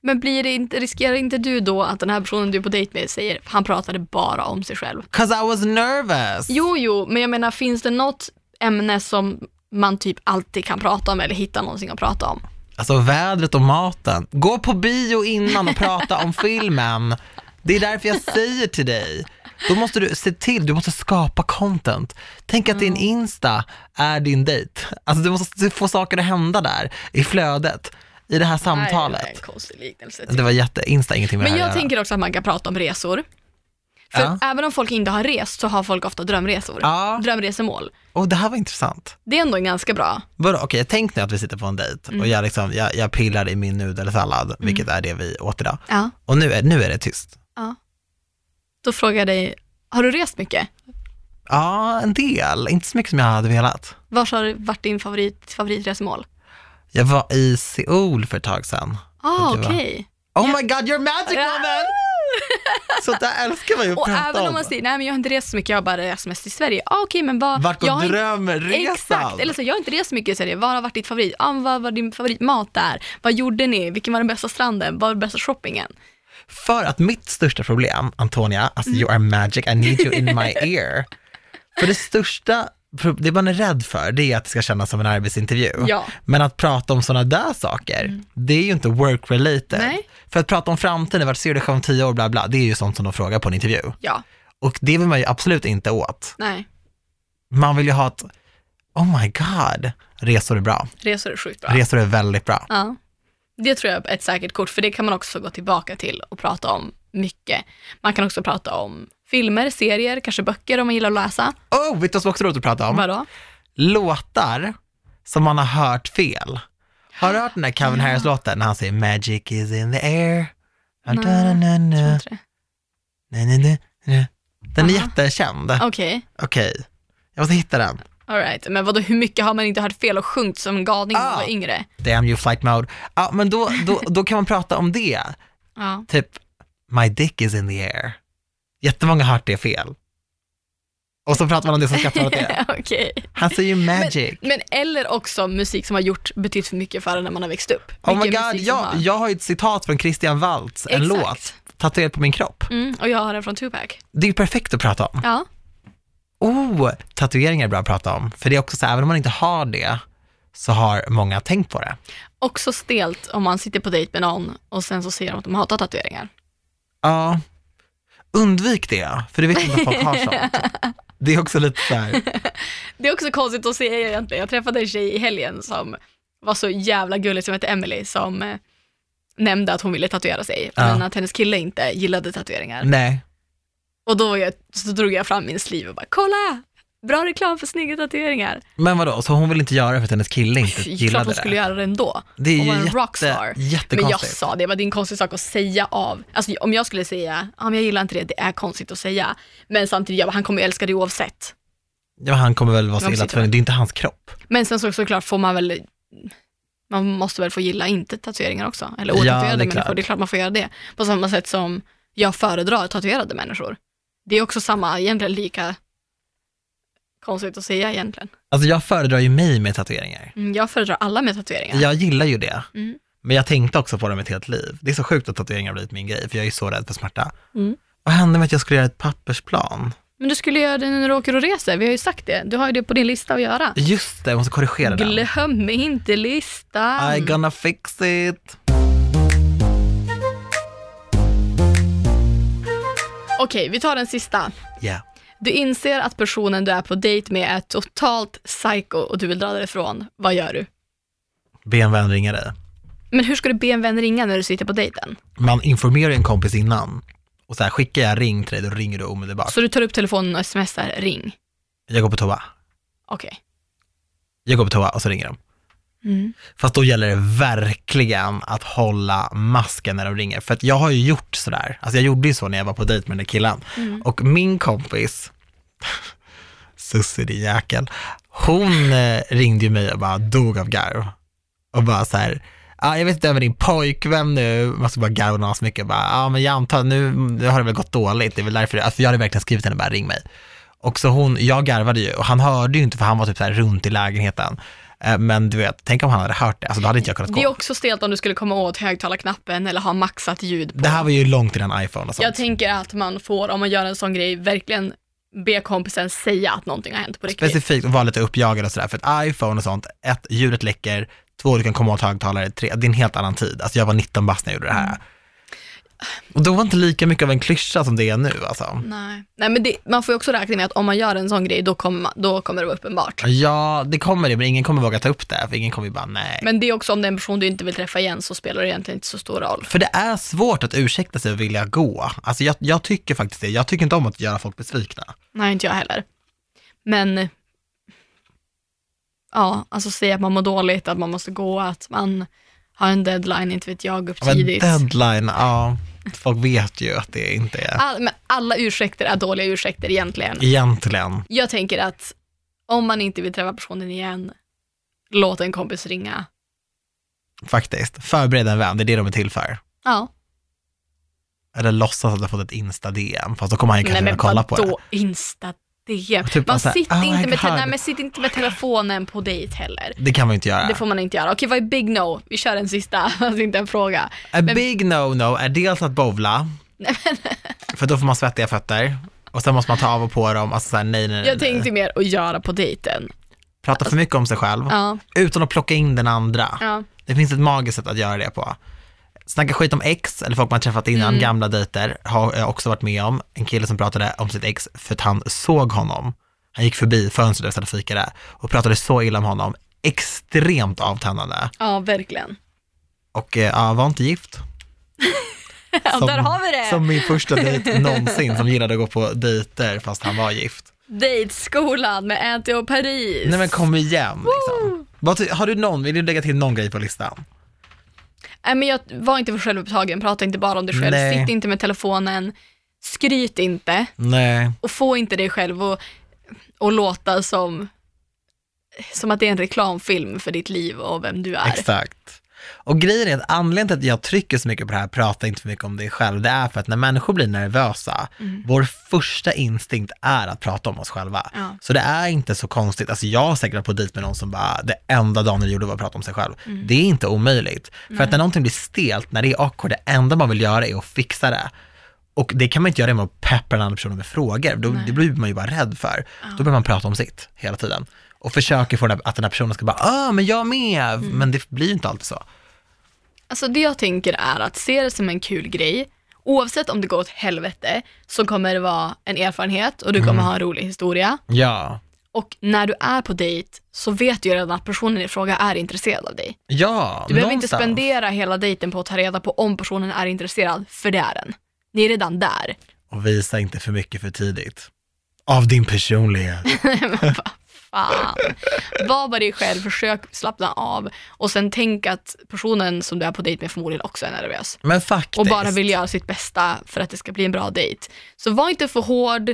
Speaker 2: Men blir det inte, riskerar inte du då att den här personen du är på dejt med säger, han pratade bara om sig själv?
Speaker 1: cause I was nervous.
Speaker 2: Jo, jo, men jag menar finns det något ämne som man typ alltid kan prata om eller hitta någonting att prata om?
Speaker 1: Alltså vädret och maten. Gå på bio innan och prata
Speaker 2: *laughs*
Speaker 1: om filmen. Det är därför jag säger till dig. Då måste du se till, du måste skapa content. Tänk att din
Speaker 2: Mm.
Speaker 1: Insta är din dejt. Alltså du måste få saker att hända där, i flödet, i det här samtalet. Alltså,
Speaker 2: Nej, det var en konstig liknelse.
Speaker 1: Det var jätte, Insta har ingenting med
Speaker 2: Men
Speaker 1: det här
Speaker 2: jag
Speaker 1: att göra.
Speaker 2: tänker också att man kan prata om resor. För
Speaker 1: Ja.
Speaker 2: även om folk inte har rest så har folk ofta drömresor.
Speaker 1: Ja.
Speaker 2: Drömresemål.
Speaker 1: Och det här var intressant.
Speaker 2: Det är ändå en ganska bra
Speaker 1: Vadå, okej, tänk nu att vi sitter på en dejt
Speaker 2: Mm.
Speaker 1: och jag, liksom, jag, jag pillar i min nudelsallad, vilket är det vi åt idag.
Speaker 2: Ja.
Speaker 1: Och nu är, nu är det tyst.
Speaker 2: ja. Då frågar jag dig, har du rest mycket?
Speaker 1: Ja, en del, inte så mycket som jag hade velat.
Speaker 2: Var har varit din favorit, favoritresmål?
Speaker 1: Jag var i Seoul för ett tag sedan.
Speaker 2: Ah,
Speaker 1: Det
Speaker 2: okej.
Speaker 1: var- Oh my god, you're magic woman! Så där älskar man ju att
Speaker 2: Och
Speaker 1: prata
Speaker 2: även
Speaker 1: om.
Speaker 2: om man säger, nej men jag har inte rest så mycket, jag har bara rest mest i Sverige. Ah, okej, men vad...
Speaker 1: Vart
Speaker 2: jag har
Speaker 1: går
Speaker 2: inte-
Speaker 1: drömresan?
Speaker 2: Exakt, eller så, jag har inte rest så mycket i Sverige, vad har varit ditt favorit? Ah, vad var din favoritmat där? Vad gjorde ni? Vilken var den bästa stranden? Vad var den bästa shoppingen?
Speaker 1: För att mitt största problem, Antonia, alltså you are magic, I need you in my
Speaker 2: *laughs*
Speaker 1: ear. För det största, pro- det man är rädd för, det är att det ska kännas som en arbetsintervju.
Speaker 2: Ja. Mm.
Speaker 1: Men att prata om sådana där saker, det är ju inte work related.
Speaker 2: Nej.
Speaker 1: För att prata om framtiden, vart ser du dig själv om tio år, bla bla, det är ju sånt som de frågar på en intervju.
Speaker 2: Ja,
Speaker 1: Och det vill man ju absolut inte åt.
Speaker 2: nej,
Speaker 1: Man vill ju ha ett, oh my god, resor är bra.
Speaker 2: resor är sjukt bra.
Speaker 1: Resor är väldigt bra.
Speaker 2: Ja. Det tror jag är ett säkert kort, för det kan man också gå tillbaka till och prata om mycket. Man kan också prata om filmer, serier, kanske böcker om man gillar att läsa.
Speaker 1: Oh, vet du vad som också är roligt att prata om?
Speaker 2: Vadå?
Speaker 1: låtar som man har hört fel. Har du hört den där Calvin Harris-låten när han säger “Magic is in the air”? Ah, da, da, na,
Speaker 2: Jag tror
Speaker 1: na,
Speaker 2: inte det.
Speaker 1: na, na, na, na. Den är
Speaker 2: Aha.
Speaker 1: jättekänd.
Speaker 2: Okej,
Speaker 1: Okej, jag måste hitta den.
Speaker 2: alright. Men vadå, hur mycket har man inte hört fel och sjungit som en galning när man
Speaker 1: Ah.
Speaker 2: var yngre?
Speaker 1: Damn you flight mode. Ja, men då, då, då kan man prata om det.
Speaker 2: Ja.
Speaker 1: Typ, “My dick is in the air”. Jättemånga har hört det fel. Och så pratar man om det som skrattar åt det.
Speaker 2: *laughs* Okej.
Speaker 1: Han säger ju
Speaker 2: Men,
Speaker 1: magic.
Speaker 2: men eller också musik som har gjort, betytt för mycket för en när man har växt upp.
Speaker 1: oh my
Speaker 2: Vilken
Speaker 1: god,
Speaker 2: musik som
Speaker 1: jag,
Speaker 2: har-
Speaker 1: jag har ju ett citat från Christian Waltz, en
Speaker 2: Exakt.
Speaker 1: låt, tatuerad på min kropp.
Speaker 2: Mm, och jag har den från Tupac.
Speaker 1: Det är ju perfekt att prata om.
Speaker 2: Ja.
Speaker 1: Oh, tatueringar är bra att prata om. För det är också så här, även om man inte har det, så har många tänkt på det.
Speaker 2: Också stelt om man sitter på dejt med någon och sen så ser de att de hatar tatueringar.
Speaker 1: Ja, undvik det, för du vet inte om folk har
Speaker 2: *laughs*
Speaker 1: sånt. Det är också lite så här,
Speaker 2: Det är också konstigt att säga egentligen. Jag träffade en tjej i helgen som var så jävla gullig som hette Emily som eh, nämnde att hon ville tatuera sig,
Speaker 1: Ja. Mm.
Speaker 2: men att hennes kille inte gillade tatueringar.
Speaker 1: nej.
Speaker 2: Och då var jag, så drog jag fram min sliv och bara kolla, bra reklam för
Speaker 1: *laughs*
Speaker 2: snygga tatueringar.
Speaker 1: Men vadå, så hon vill inte göra det för att hennes kille inte
Speaker 2: Klart hon
Speaker 1: gillade
Speaker 2: skulle
Speaker 1: det?
Speaker 2: göra det ändå.
Speaker 1: Det är
Speaker 2: hon
Speaker 1: ju
Speaker 2: var en
Speaker 1: jätte,
Speaker 2: rockstar. Men jag
Speaker 1: jättekonstigt.
Speaker 2: sa det, det var en konstig sak att säga av. Alltså om jag skulle säga, ja men jag gillar inte det, det är konstigt att säga. Men samtidigt, jag bara, han kommer ju älska det oavsett.
Speaker 1: Ja, han kommer väl vara så
Speaker 2: De
Speaker 1: illa
Speaker 2: sitter
Speaker 1: tvungen, det är inte hans kropp.
Speaker 2: Men sen så, såklart får man väl, man måste väl få gilla inte tatueringar också. Eller
Speaker 1: Ja,
Speaker 2: otatuerade
Speaker 1: det är
Speaker 2: människor,
Speaker 1: klart.
Speaker 2: det är klart man får göra det. På samma sätt som jag föredrar tatuerade människor. Det är också samma, egentligen lika konstigt att säga egentligen.
Speaker 1: Alltså jag föredrar ju mig med tatueringar.
Speaker 2: Mm, Jag föredrar alla med tatueringar.
Speaker 1: Jag gillar ju det.
Speaker 2: Mm.
Speaker 1: Men jag tänkte också på det mitt helt liv. Det är så sjukt att tatueringar har blivit min grej, för jag är så rädd för smärta.
Speaker 2: Mm.
Speaker 1: Vad hände med att jag skulle göra ett pappersplan?
Speaker 2: Men du skulle göra det när du åker och reser, vi har ju sagt det. Du har ju det på din lista att göra.
Speaker 1: Just det, jag måste korrigera den.
Speaker 2: Glöm inte listan.
Speaker 1: I gonna fix it.
Speaker 2: Okej, vi tar den sista.
Speaker 1: Yeah.
Speaker 2: Du inser att personen du är på dejt med är totalt psycho och du vill dra därifrån. Vad gör du?
Speaker 1: Be en vän ringa dig.
Speaker 2: Men hur ska du be en vän ringa när du sitter på dejten?
Speaker 1: Man informerar en kompis innan. Och så här, skickar jag ring till dig, då ringer du omedelbart.
Speaker 2: Så du tar upp telefonen och smsar ring?
Speaker 1: Jag går på toa.
Speaker 2: Okej.
Speaker 1: Jag går på toa och så ringer de.
Speaker 2: Mm.
Speaker 1: Fast då gäller det verkligen att hålla masken när de ringer. För att jag har ju gjort sådär, alltså jag gjorde ju så när jag var på dejt med den där killen.
Speaker 2: Mm.
Speaker 1: Och min kompis, Sussie din jäkel, hon eh, ringde ju mig och bara dog av garv. Och bara så här, ah, jag vet inte med din pojkvän nu, man ska bara garva så mycket. Bara, ah, men jag antar, nu, nu har det väl gått dåligt, det är väl därför, alltså jag hade verkligen skrivit till henne, bara ring mig. Och så hon, jag garvade ju och han hörde ju inte för han var typ så här runt i lägenheten. Eh, Men du vet, tänk om han hade hört det, alltså då hade inte jag kunnat
Speaker 2: Det är
Speaker 1: gå.
Speaker 2: också stelt om du skulle komma åt högtalarknappen eller ha maxat ljud på.
Speaker 1: Det här var ju långt innan iPhone och sånt.
Speaker 2: Jag tänker att man får, om man gör en sån grej, verkligen be kompisen säga att någonting har hänt på riktigt.
Speaker 1: Specifikt att vara lite uppjagad och sådär, för att iPhone och sånt, ett, ljudet läcker, två, du kan komma åt högtalare, tre, det är en helt annan tid. Alltså jag var 19 bast när jag gjorde det
Speaker 2: Mm.
Speaker 1: här. Och då var inte lika mycket av en klyscha som det är nu alltså.
Speaker 2: Nej, Nej men det, man får ju också räkna med att om man gör en sån grej, då kommer, man, då kommer det vara uppenbart.
Speaker 1: Ja, det kommer det, men ingen kommer våga ta upp det, för ingen kommer ju bara nej.
Speaker 2: Men det är också om det är en person du inte vill träffa igen så spelar det egentligen inte så stor roll.
Speaker 1: För det är svårt att ursäkta sig och vilja gå. Alltså jag, jag tycker faktiskt det, jag tycker inte om att göra folk besvikna.
Speaker 2: Nej, inte jag heller. Men, ja, alltså säga att man mår dåligt, att man måste gå, att man har en deadline, inte vet jag, upp
Speaker 1: Men
Speaker 2: tidigt.
Speaker 1: deadline, ja. Folk vet ju att det inte är,
Speaker 2: All, men alla ursäkter är dåliga ursäkter egentligen.
Speaker 1: egentligen.
Speaker 2: Jag tänker att om man inte vill träffa personen igen, låt en kompis ringa.
Speaker 1: Faktiskt. Förbered en vän, det är det de är till för.
Speaker 2: Ja,
Speaker 1: Eller låtsas att du har fått ett Insta-DM, fast då kommer han ju kanske
Speaker 2: nej
Speaker 1: redan
Speaker 2: men
Speaker 1: kolla på det.
Speaker 2: vadå insta DM?
Speaker 1: Typ bara
Speaker 2: man
Speaker 1: så här,
Speaker 2: sitter,
Speaker 1: "Oh my
Speaker 2: inte med te-
Speaker 1: God."
Speaker 2: nej, men sitt inte med telefonen på dejt heller.
Speaker 1: Det kan man ju inte göra.
Speaker 2: Det får man inte göra. Okej, vad är big no? Vi kör en sista, *laughs* alltså inte en fråga.
Speaker 1: A big no-no är dels att
Speaker 2: *laughs*
Speaker 1: bowla, för då får man svettiga fötter, och sen måste man ta av och på dem, alltså såhär nej, nej, nej.
Speaker 2: Jag
Speaker 1: nej.
Speaker 2: tänkte mer att göra på dejten.
Speaker 1: Prata för mycket om sig själv,
Speaker 2: Ja,
Speaker 1: utan att plocka in den andra.
Speaker 2: ja.
Speaker 1: Det finns ett magiskt sätt att göra det på. Snacka skit om ex, eller folk man träffat innan,
Speaker 2: Mm.
Speaker 1: gamla dejter, har jag också varit med om. En kille som pratade om sitt ex för att han såg honom. Han gick förbi fönstret där vi satt och fikade och pratade så illa om honom. Extremt avtändande.
Speaker 2: ja verkligen.
Speaker 1: Och eh, ja, var inte gift.
Speaker 2: *laughs* Ja, där har vi det!
Speaker 1: Som min första
Speaker 2: *laughs*
Speaker 1: dejt någonsin, som gillade att gå på dejter fast han var gift.
Speaker 2: Dejtskolan med Anty och Paris.
Speaker 1: Nej men kom igen liksom. Vad ty- Har du någon, vill du lägga till någon grej på listan?
Speaker 2: Nej, men jag var inte för självupptagen, prata inte bara om dig själv,
Speaker 1: Nej.
Speaker 2: sitt inte med telefonen, skryt inte
Speaker 1: Nej.
Speaker 2: och få inte dig själv att och låta som, som att det är en reklamfilm för ditt liv och vem du är.
Speaker 1: Exakt. Och grejen är att anledningen till att jag trycker så mycket på det här, prata inte för mycket om dig själv, det är för att när människor blir nervösa, vår första instinkt är att prata om oss själva.
Speaker 2: Ja.
Speaker 1: Så det är inte så konstigt, alltså jag har säkert varit på dit med någon som bara, det enda Daniel gjorde var att prata om sig själv. Det är inte omöjligt. För att när någonting blir stelt, när det är awkward, det enda man vill göra är att fixa det. Och det kan man inte göra genom att peppa den andra personen med frågor, då, det blir man ju bara rädd för. Då börjar man prata om sitt hela tiden. Och försöker få den här, att den här personen ska bara, ah men jag med, men det blir ju inte alltid så.
Speaker 2: Alltså det jag tänker är att se det som en kul grej. Oavsett om det går åt helvete så kommer det vara en erfarenhet och du kommer ha en rolig historia.
Speaker 1: Ja.
Speaker 2: Och när du är på dejt så vet du ju redan att personen i fråga är intresserad av dig.
Speaker 1: Ja,
Speaker 2: Du behöver inte
Speaker 1: någonstans.
Speaker 2: spendera hela dejten på att ta reda på om personen är intresserad, för det är den. Ni är redan där.
Speaker 1: Och visa inte för mycket för tidigt. Av din personlighet.
Speaker 2: Fan. Var bara dig själv, försök slappna av och sen tänk att personen som du är på dejt med förmodligen också är nervös.
Speaker 1: *laughs* Men faktiskt.
Speaker 2: och bara vill göra sitt bästa för att det ska bli en bra dejt. Så var inte för hård,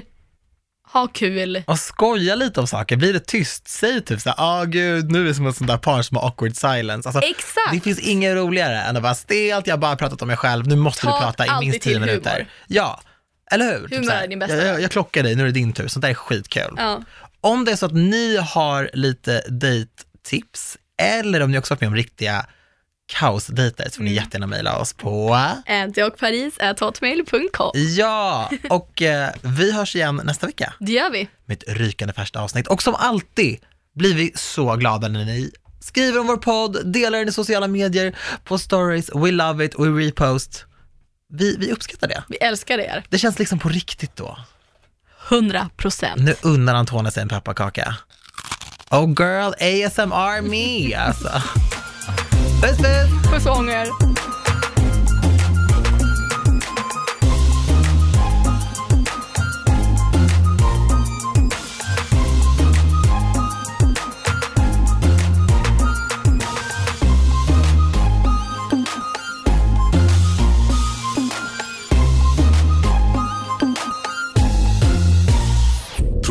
Speaker 2: ha kul.
Speaker 1: Och skoja lite om saker, blir det tyst, säg typ såhär, ah gud, nu är det som ett sånt där par som har awkward silence. Alltså, Det
Speaker 2: Exakt!
Speaker 1: finns inget roligare än att vara stelt, jag har bara pratat om mig själv, nu måste
Speaker 2: Ta
Speaker 1: du prata i
Speaker 2: alltid
Speaker 1: minst 10
Speaker 2: till humor.
Speaker 1: minuter. Ja, eller hur? Typ
Speaker 2: Humor
Speaker 1: så här,
Speaker 2: är din bästa
Speaker 1: Jag, jag, jag klockar dig, nu är det din tur. Sånt där är skitkul.
Speaker 2: Ja.
Speaker 1: Om det är så att ni har lite dejttips, eller om ni också har varit med om riktiga kaosdejter så får ni jättegärna mejla oss på.
Speaker 2: Antiochparis.hotmail.com
Speaker 1: Ja, och eh, vi hörs igen nästa vecka
Speaker 2: Det gör vi.
Speaker 1: med ett rykande färskt avsnitt. Och som alltid blir vi så glada när ni skriver om vår podd, delar den i sociala medier, på stories, we love it, we repost. Vi, vi uppskattar det.
Speaker 2: Vi älskar er.
Speaker 1: Det känns liksom på riktigt då.
Speaker 2: 100%.
Speaker 1: Nu unnar Antonia sig en pepparkaka. Oh girl, ASMR me alltså. Puss puss!
Speaker 2: Puss och ånger.